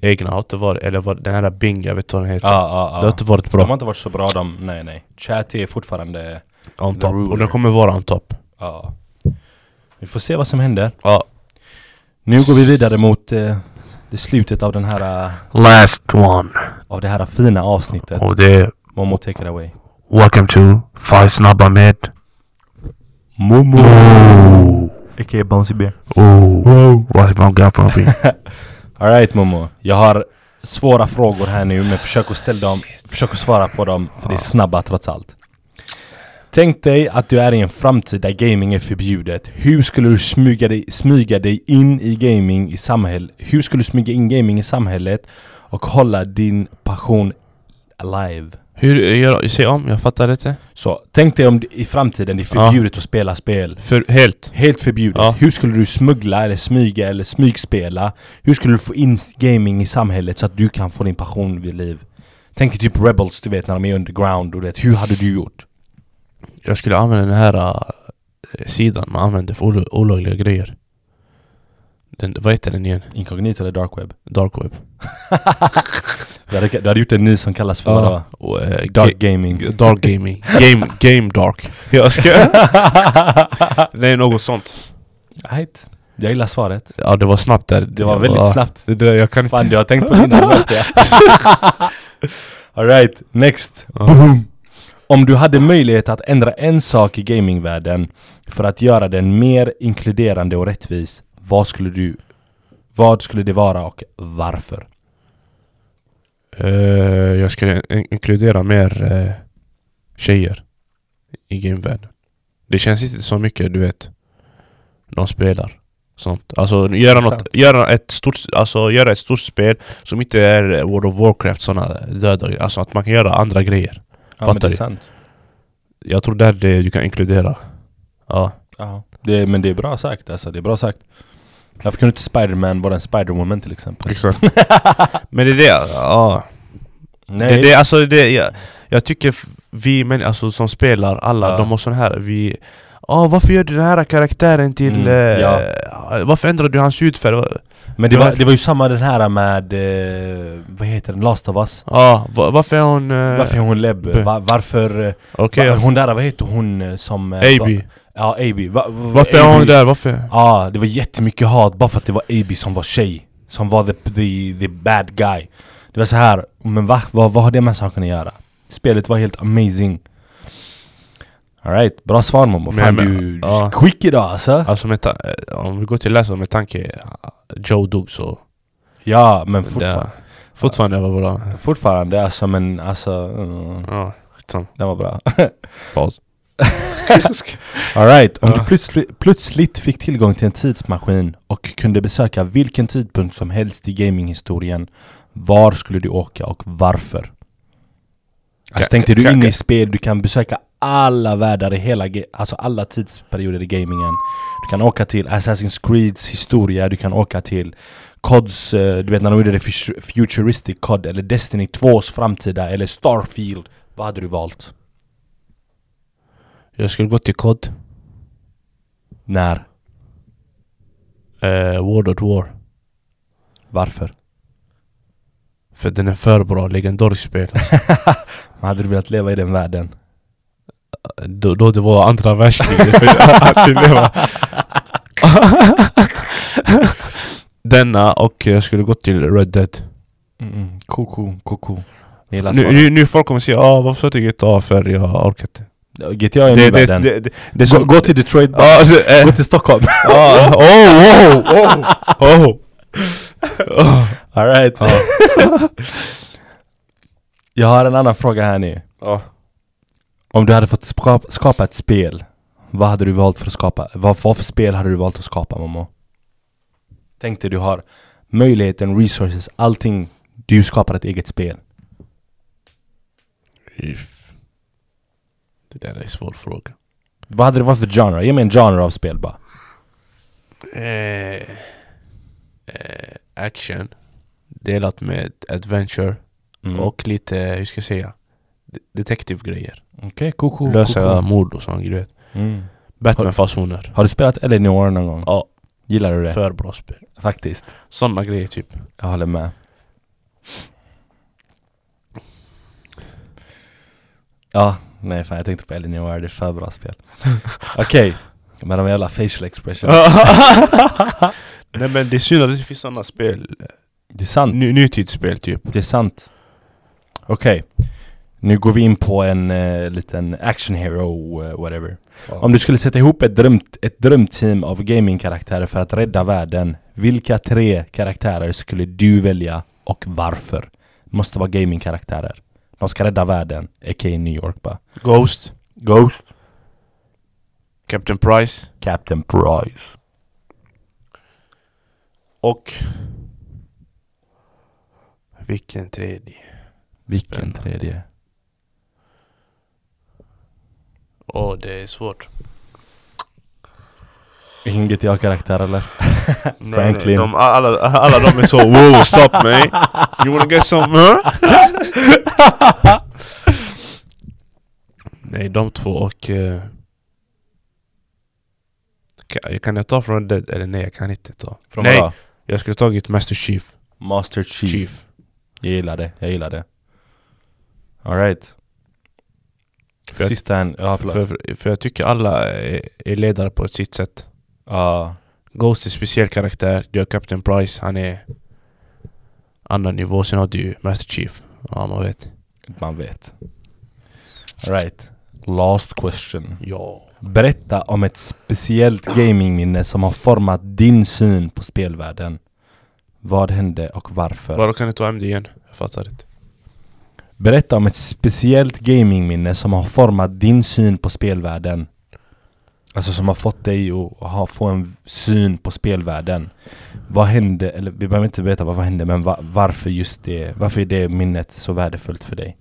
Speaker 2: egna har inte varit, eller vad- den här Bing, jag vet inte vad den heter.
Speaker 1: Ja, ja,
Speaker 2: Det har
Speaker 1: ja.
Speaker 2: inte varit
Speaker 1: De har
Speaker 2: bra.
Speaker 1: inte varit så bra de, nej nej. Chat är fortfarande,
Speaker 2: On
Speaker 1: The
Speaker 2: top. Och
Speaker 1: ruler.
Speaker 2: den kommer vara on top.
Speaker 1: ja. Vi får se vad som händer.
Speaker 2: Ja.
Speaker 1: Nu går vi vidare mot eh, det slutet av, den här, eh,
Speaker 2: Last one.
Speaker 1: av det här fina avsnittet.
Speaker 2: Och det är
Speaker 1: Momo, take it away.
Speaker 2: Welcome to Five Snabba med
Speaker 1: Momo!
Speaker 2: Oh,
Speaker 1: A.k.a. Bouncy Bear.
Speaker 2: oh. What's my guy from me?
Speaker 1: Alright Momo, jag har svåra frågor här nu men försök att ställa dem, försök att svara på dem för det är snabba trots allt. Tänk dig att du är i en framtid där gaming är förbjudet. Hur skulle du smyga dig, smyga dig in i gaming i samhället? Hur skulle du smyga in gaming i samhället och hålla din passion alive?
Speaker 2: Hur, jag, säg om, jag fattar inte.
Speaker 1: Så tänk dig om det- i framtiden det är
Speaker 2: Ja.
Speaker 1: förbjudet att spela spel.
Speaker 2: För helt.
Speaker 1: Helt förbjudet.
Speaker 2: Ja.
Speaker 1: Hur skulle du smuggla eller smyga eller smygspela? Hur skulle du få in gaming i samhället så att du kan få din passion vid liv? Tänk dig typ Rebels, du vet när de är underground och det. Hur hade du gjort?
Speaker 2: jag skulle använda den här eh, sidan man använder för olo- olagliga grejer. Den, vad heter den igen?
Speaker 1: Inkognito eller dark web?
Speaker 2: Dark web.
Speaker 1: Du hade, du hade gjort en ny som kallas för vadå?
Speaker 2: Och, eh,
Speaker 1: Dark
Speaker 2: ga-
Speaker 1: gaming
Speaker 2: dark gaming. Game, game dark. Jag ska... det är något sånt.
Speaker 1: Right. Jag gillar svaret
Speaker 2: Ja, det var snabbt där.
Speaker 1: Det var väldigt
Speaker 2: Ja.
Speaker 1: snabbt
Speaker 2: Det, det, jag kan inte...
Speaker 1: Fan du har tänkt på det innan du mötte Alright, next
Speaker 2: Ja.
Speaker 1: Boom. Om du hade möjlighet att ändra en sak i gamingvärlden för att göra den mer inkluderande och rättvis Vad skulle du Vad skulle det vara och varför?
Speaker 2: Eh, jag skulle in- inkludera mer eh, tjejer i gamevärlden. Det känns inte så mycket, du vet. De spelar. Sånt. Alltså göra, något,
Speaker 1: Exakt.
Speaker 2: göra, ett stort, alltså göra ett stort spel som inte är eh, World of Warcraft såna döda Alltså att man kan göra andra grejer.
Speaker 1: Ja,
Speaker 2: Fattar
Speaker 1: men det är
Speaker 2: du?
Speaker 1: sant
Speaker 2: Jag tror det är det du kan inkludera. Ja.
Speaker 1: Ja, det, men det är bra sagt alltså, det är bra sagt Varför kunde inte Spiderman vara en Spiderwoman till exempel?
Speaker 2: Exakt. Men det är det, ja.
Speaker 1: Nej,
Speaker 2: Det, det, alltså det, jag, jag tycker f- vi män, alltså, som spelar, alla,
Speaker 1: Ja.
Speaker 2: de har sån här, vi Ja, varför gör du den här karaktären till...
Speaker 1: Mm,
Speaker 2: eh,
Speaker 1: ja.
Speaker 2: Varför ändrar du hans hudfärg? Va-
Speaker 1: men det var, det var ju samma den här med, eh, vad heter den, Last of Us
Speaker 2: Ja, ah, va- varför är hon... eh,
Speaker 1: Varför är hon lebb?
Speaker 2: B.
Speaker 1: Va, varför... eh,
Speaker 2: Okej,
Speaker 1: va, hon där, vad heter hon eh, som... eh,
Speaker 2: AB.
Speaker 1: va- Ja, AB va, va,
Speaker 2: Varför är
Speaker 1: AB?
Speaker 2: hon där? Varför?
Speaker 1: Ja, det var jättemycket hat bara för att det var AB som var tjej Som var the, the, the bad guy Det var så här, men va? Vad, vad har det med saken att göra? Spelet var helt amazing Alright, bra svar mamma. Fan
Speaker 2: Men-
Speaker 1: du,
Speaker 2: men-
Speaker 1: du
Speaker 2: ja.
Speaker 1: är quick idag alltså
Speaker 2: Alltså med ta- eh, om vi går till läsaren med tanke eh, Joe Dubs och...
Speaker 1: Ja, men fortfarande,
Speaker 2: Fortfarande var bra.
Speaker 1: fortfarande alltså men alltså mm,
Speaker 2: Ja, skitsamma.
Speaker 1: Den var bra
Speaker 2: Paus.
Speaker 1: Alright, om
Speaker 2: Ja.
Speaker 1: du plötsligt, plötsligt fick tillgång till en tidsmaskin och kunde besöka vilken tidpunkt som helst i gaminghistorien Var skulle du åka och varför? Alltså
Speaker 2: Kan-
Speaker 1: tänkte du
Speaker 2: kan-
Speaker 1: in i
Speaker 2: kan-
Speaker 1: spel, du kan besöka alla världar i hela, ge- alltså alla tidsperioder i gamingen Du kan åka till Assassin's Creeds historia, du kan åka till CODs, eh, du vet när de gjorde det fus- futuristic COD eller Destiny 2s framtida eller Starfield Vad hade du valt?
Speaker 2: Jag skulle gå till COD.
Speaker 1: När?
Speaker 2: Eh, World at War.
Speaker 1: Varför?
Speaker 2: För den är för bra, legendariskt spel.
Speaker 1: Men hade du velat leva i den världen?
Speaker 2: då, då det var andra världskriget för att överleva. Denna och jag skulle gått till Red Dead
Speaker 1: Mm, koko, koko. Hela
Speaker 2: nu, nu, nu folk kommer säga ah, varför tog jag GTA för jag orkar inte
Speaker 1: GTA är
Speaker 2: det,
Speaker 1: nu
Speaker 2: det,
Speaker 1: världen.
Speaker 2: det, det, det
Speaker 1: Gå,
Speaker 2: är så...
Speaker 1: gå till Detroit, bara.
Speaker 2: Ah, alltså, eh,
Speaker 1: gå till Stockholm.
Speaker 2: ah, oh, oh, oh, oh. oh.
Speaker 1: Alright. Jag har en annan fråga här nu.
Speaker 2: Ja.
Speaker 1: Om du hade fått skapa, skapa ett spel, vad hade du valt för att skapa? Vad, vad för spel hade du valt att skapa, mamma? Tänk dig, du har möjligheten, resources, allting. Du skapar ett eget spel.
Speaker 2: Det där är en svår fråga
Speaker 1: Vad hade det varit för genre? Ge mig en genre av spel bara.
Speaker 2: eh, eh, Action Delat med adventure
Speaker 1: Mm.
Speaker 2: och lite, hur ska jag säga, de- detektivgrejer.
Speaker 1: Okej, koko,
Speaker 2: Lösa
Speaker 1: koko.
Speaker 2: mord och sånt, du vet.
Speaker 1: Mm.
Speaker 2: Batman-fasoner.
Speaker 1: Har du spelat L.A. Noir någon gång?
Speaker 2: Ja,
Speaker 1: Gillar du det?
Speaker 2: för bra spel.
Speaker 1: Faktiskt.
Speaker 2: Såna grejer typ.
Speaker 1: Jag håller med. Ja, nej fan jag tänkte på Ellen Noir, det är för bra spel. Okej, med de jävla facial expressions.
Speaker 2: Nej men det är synd att det finns såna spel.
Speaker 1: Det är sant,
Speaker 2: Ny, nutidsspel typ.
Speaker 1: det är sant. Okej, nu går vi in på en eh, liten action hero, eh, whatever. Om du skulle sätta ihop ett, drömt, ett drömteam av gamingkaraktärer för att rädda världen, vilka tre karaktärer skulle du välja och varför? Måste vara gamingkaraktärer. De ska rädda världen, a.k.a. New York bara.
Speaker 2: Ghost,
Speaker 1: Ghost.
Speaker 2: Captain Price
Speaker 1: Captain Price.
Speaker 2: och... Vilken tredje?
Speaker 1: Vilken
Speaker 2: Spännande.
Speaker 1: tredje?
Speaker 2: Åh, det är svårt.
Speaker 1: Ingen GTA-karaktär eller? Franklin.
Speaker 2: de, alla, alla de är så wow, stop me. You wanna get some? Huh? Nej, de två och... eh, Kan, kan jag ta från Red Dead? Eller nej, jag kan inte ta.
Speaker 1: Från
Speaker 2: nej,
Speaker 1: vadå?
Speaker 2: jag skulle tagit Master Chief.
Speaker 1: Master Chief.
Speaker 2: Chief.
Speaker 1: Jag gillar det, jag gillar det. Alright.
Speaker 2: För jag-
Speaker 1: Sista en, ja förlåt.
Speaker 2: för, för, för jag tycker alla är, är ledare på ett sitt sätt.
Speaker 1: Ja,
Speaker 2: Ghost är speciell karaktär. Du har Captain Price, han är... Annan nivå. Sen har du ju Master Chief. Ja, man vet.
Speaker 1: man vet. Alright. Last question.
Speaker 2: Ja.
Speaker 1: Berätta om ett speciellt gamingminne som har format din syn på spelvärlden. Vad hände och varför?
Speaker 2: Vadå, kan du ta hem det igen? Jag fattar inte.
Speaker 1: Berätta om ett speciellt gamingminne som har format din syn på spelvärlden. Alltså som har fått dig att ha, få en syn på spelvärlden. Vad hände, eller vi behöver inte veta vad som hände men va, varför just det, varför är det minnet så värdefullt för dig?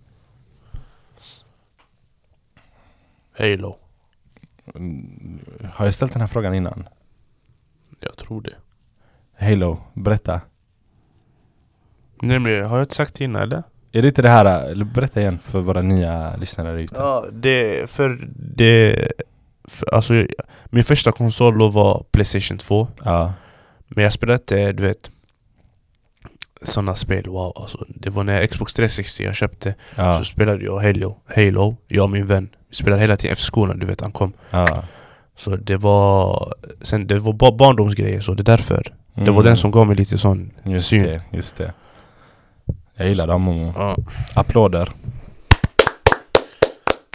Speaker 2: Halo.
Speaker 1: Har jag ställt den här frågan innan?
Speaker 2: Jag tror det.
Speaker 1: Halo, berätta.
Speaker 2: Nej men har jag inte sagt innan eller?
Speaker 1: Är det inte det här, eller berätta igen för våra nya lyssnare där ute.
Speaker 2: Ja, det... För det... För, alltså, jag- min första konsol då var Playstation 2.
Speaker 1: Ja.
Speaker 2: Men jag spelade inte, du vet... Sådana spel, wow. Alltså, det var när Xbox 360 jag köpte.
Speaker 1: Ja.
Speaker 2: Så spelade jag Halo, Halo, jag och min vän. Vi spelade hela tiden efter skolan, du vet han kom.
Speaker 1: ja.
Speaker 2: Så det var... Sen, det var bara barndomsgrejer, så det är därför. Det var
Speaker 1: Mm.
Speaker 2: den som gav mig lite sån...
Speaker 1: Just
Speaker 2: syn.
Speaker 1: det, just det. Jag gillar dem Momo.
Speaker 2: Ja.
Speaker 1: Applåder.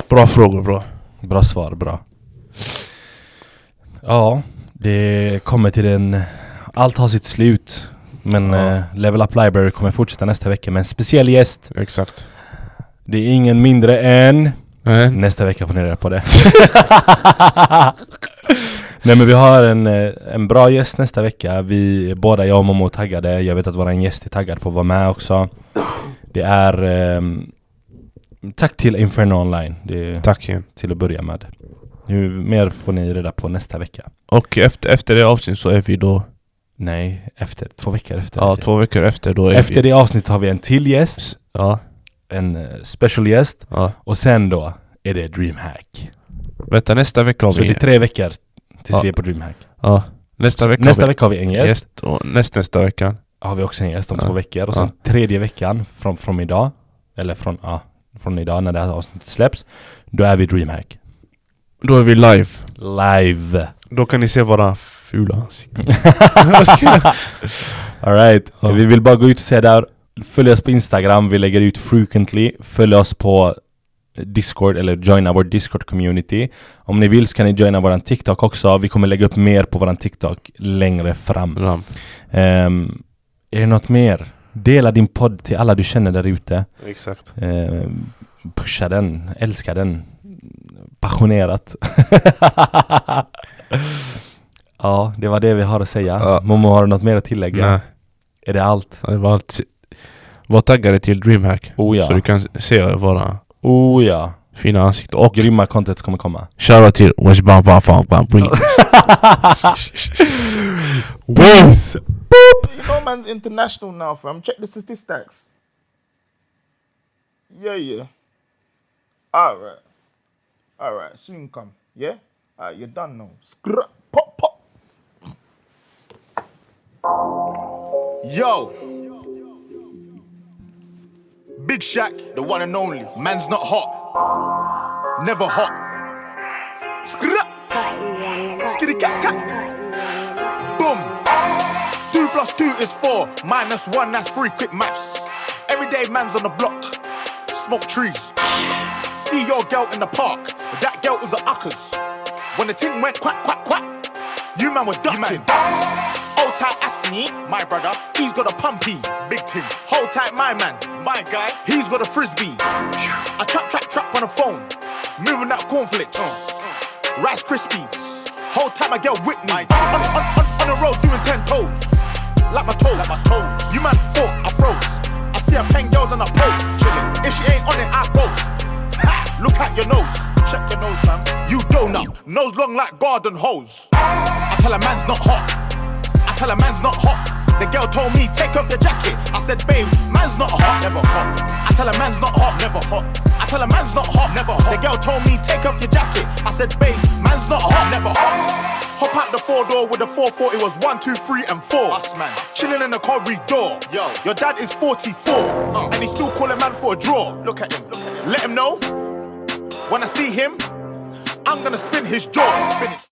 Speaker 2: Bra frågor, bra.
Speaker 1: Bra svar, bra. Ja, det kommer till en... Allt har sitt slut. Men
Speaker 2: Ja.
Speaker 1: eh, Level Up Library kommer fortsätta nästa vecka med en speciell gäst.
Speaker 2: Exakt.
Speaker 1: Det är ingen mindre än...
Speaker 2: Äh?
Speaker 1: Nästa vecka får ni reda på det. Nej men vi har en, eh, en bra gäst nästa vecka. Vi båda, jag och Momo, är taggade. Jag vet att våran gäst är taggad på att vara med också. Det är... ehm, tack till Inferno Online. Det,
Speaker 2: Tack igen.
Speaker 1: till att börja med. Hur mer får ni reda på nästa vecka?
Speaker 2: Och efter, efter det avsnittet så är vi då...
Speaker 1: Nej, efter två veckor efter.
Speaker 2: Ja, två veckor efter då är
Speaker 1: efter
Speaker 2: vi...
Speaker 1: det avsnittet har vi en till gäst,
Speaker 2: S- Ja,
Speaker 1: en eh, special gäst
Speaker 2: ja.
Speaker 1: och sen då är det DreamHack.
Speaker 2: Vänta, nästa vecka har
Speaker 1: Så det
Speaker 2: vi...
Speaker 1: är tre veckor tills
Speaker 2: Ja.
Speaker 1: vi är på DreamHack.
Speaker 2: Ja. Nästa
Speaker 1: Så
Speaker 2: vecka
Speaker 1: nästa
Speaker 2: har
Speaker 1: vecka har vi en
Speaker 2: vi
Speaker 1: gäst,
Speaker 2: gäst och näst, nästa vecka.
Speaker 1: har vi också en gäst om
Speaker 2: Ja.
Speaker 1: två veckor och
Speaker 2: Ja.
Speaker 1: sen tredje veckan från, från idag, eller från, ja, från idag när det här avsnittet släpps, då är vi DreamHack.
Speaker 2: Då är vi live.
Speaker 1: Live!
Speaker 2: Då kan ni se våra fula ansikten.
Speaker 1: Alright,
Speaker 2: Ja.
Speaker 1: vi vill bara gå ut och säga där Följ oss på Instagram, vi lägger ut frequently Följ oss på Discord eller joina vår Discord community Om ni vill så kan ni joina våran TikTok också Vi kommer lägga upp mer på våran TikTok längre fram
Speaker 2: Ram.
Speaker 1: Ehm, Är det något mer? Dela din podd till alla du känner där ute
Speaker 2: Exakt.
Speaker 1: Ehm, Pusha den, älska den Passionerat Ja, det var det vi har att säga
Speaker 2: Ja.
Speaker 1: Momo, har du något mer att tillägga?
Speaker 2: Nej,
Speaker 1: Är det allt?
Speaker 2: det var allt. Var taggade till DreamHack.
Speaker 1: Oh ja.
Speaker 2: Så du kan se våra
Speaker 1: Oh ja.
Speaker 2: fina ansikten. Och
Speaker 1: Grymma content kommer komma.
Speaker 2: shoutout till Washbam Bam Bam Bam Bam
Speaker 1: Boys!
Speaker 3: You know, man's international now, fam. Check the statistics. Yeah, yeah. All right. All right. Soon come. Yeah. All right. You're done now. Scrap. Pop. Pop.
Speaker 4: Yo. Big Shaq, the one and only. Man's not hot. Never hot. Scrap. Skitty cat cat. Boom. Two plus two is four. Minus one, that's three. Quick maths. Everyday man's on the block. Smoke trees. See your girl in the park. That girl was a uckers. When the ting went quack, quack, quack. You man were ducking. Hold tight, Asni, my brother. He's got a pumpy, big ting. Hold tight, my man, my guy. He's got a frisbee. I trap, trap, trap on the phone. Moving that cornflakes. Rice Krispies. Hold tight, my girl Whitney. On, on, on, on the road doing ten toes. Like my toes. Like my toes. You man thought I froze. I see a pen girl on a post. Chilling. If she ain't on it, I post. Ha! Look at your nose. Check your nose, fam. You donut. Nose long like garden hose. I tell a man's not hot. I tell a man's not hot. The girl told me, take off your jacket. I said, babe, man's not hot. Never hot. I tell a man's not hot. Never hot. I tell her man's not hot, never hot. The girl told me take off your jacket. I said babe, man's not hot, never hot. Hop out the four door with the 440 was one, two, three, and four.
Speaker 5: Us man.
Speaker 4: Chilling in the corridor.
Speaker 5: Yo.
Speaker 4: Your dad is 44. And he's still calling man for a draw. Oh. Look at him. Let him know. When I see him, I'm gonna spin his jaw. Spin it.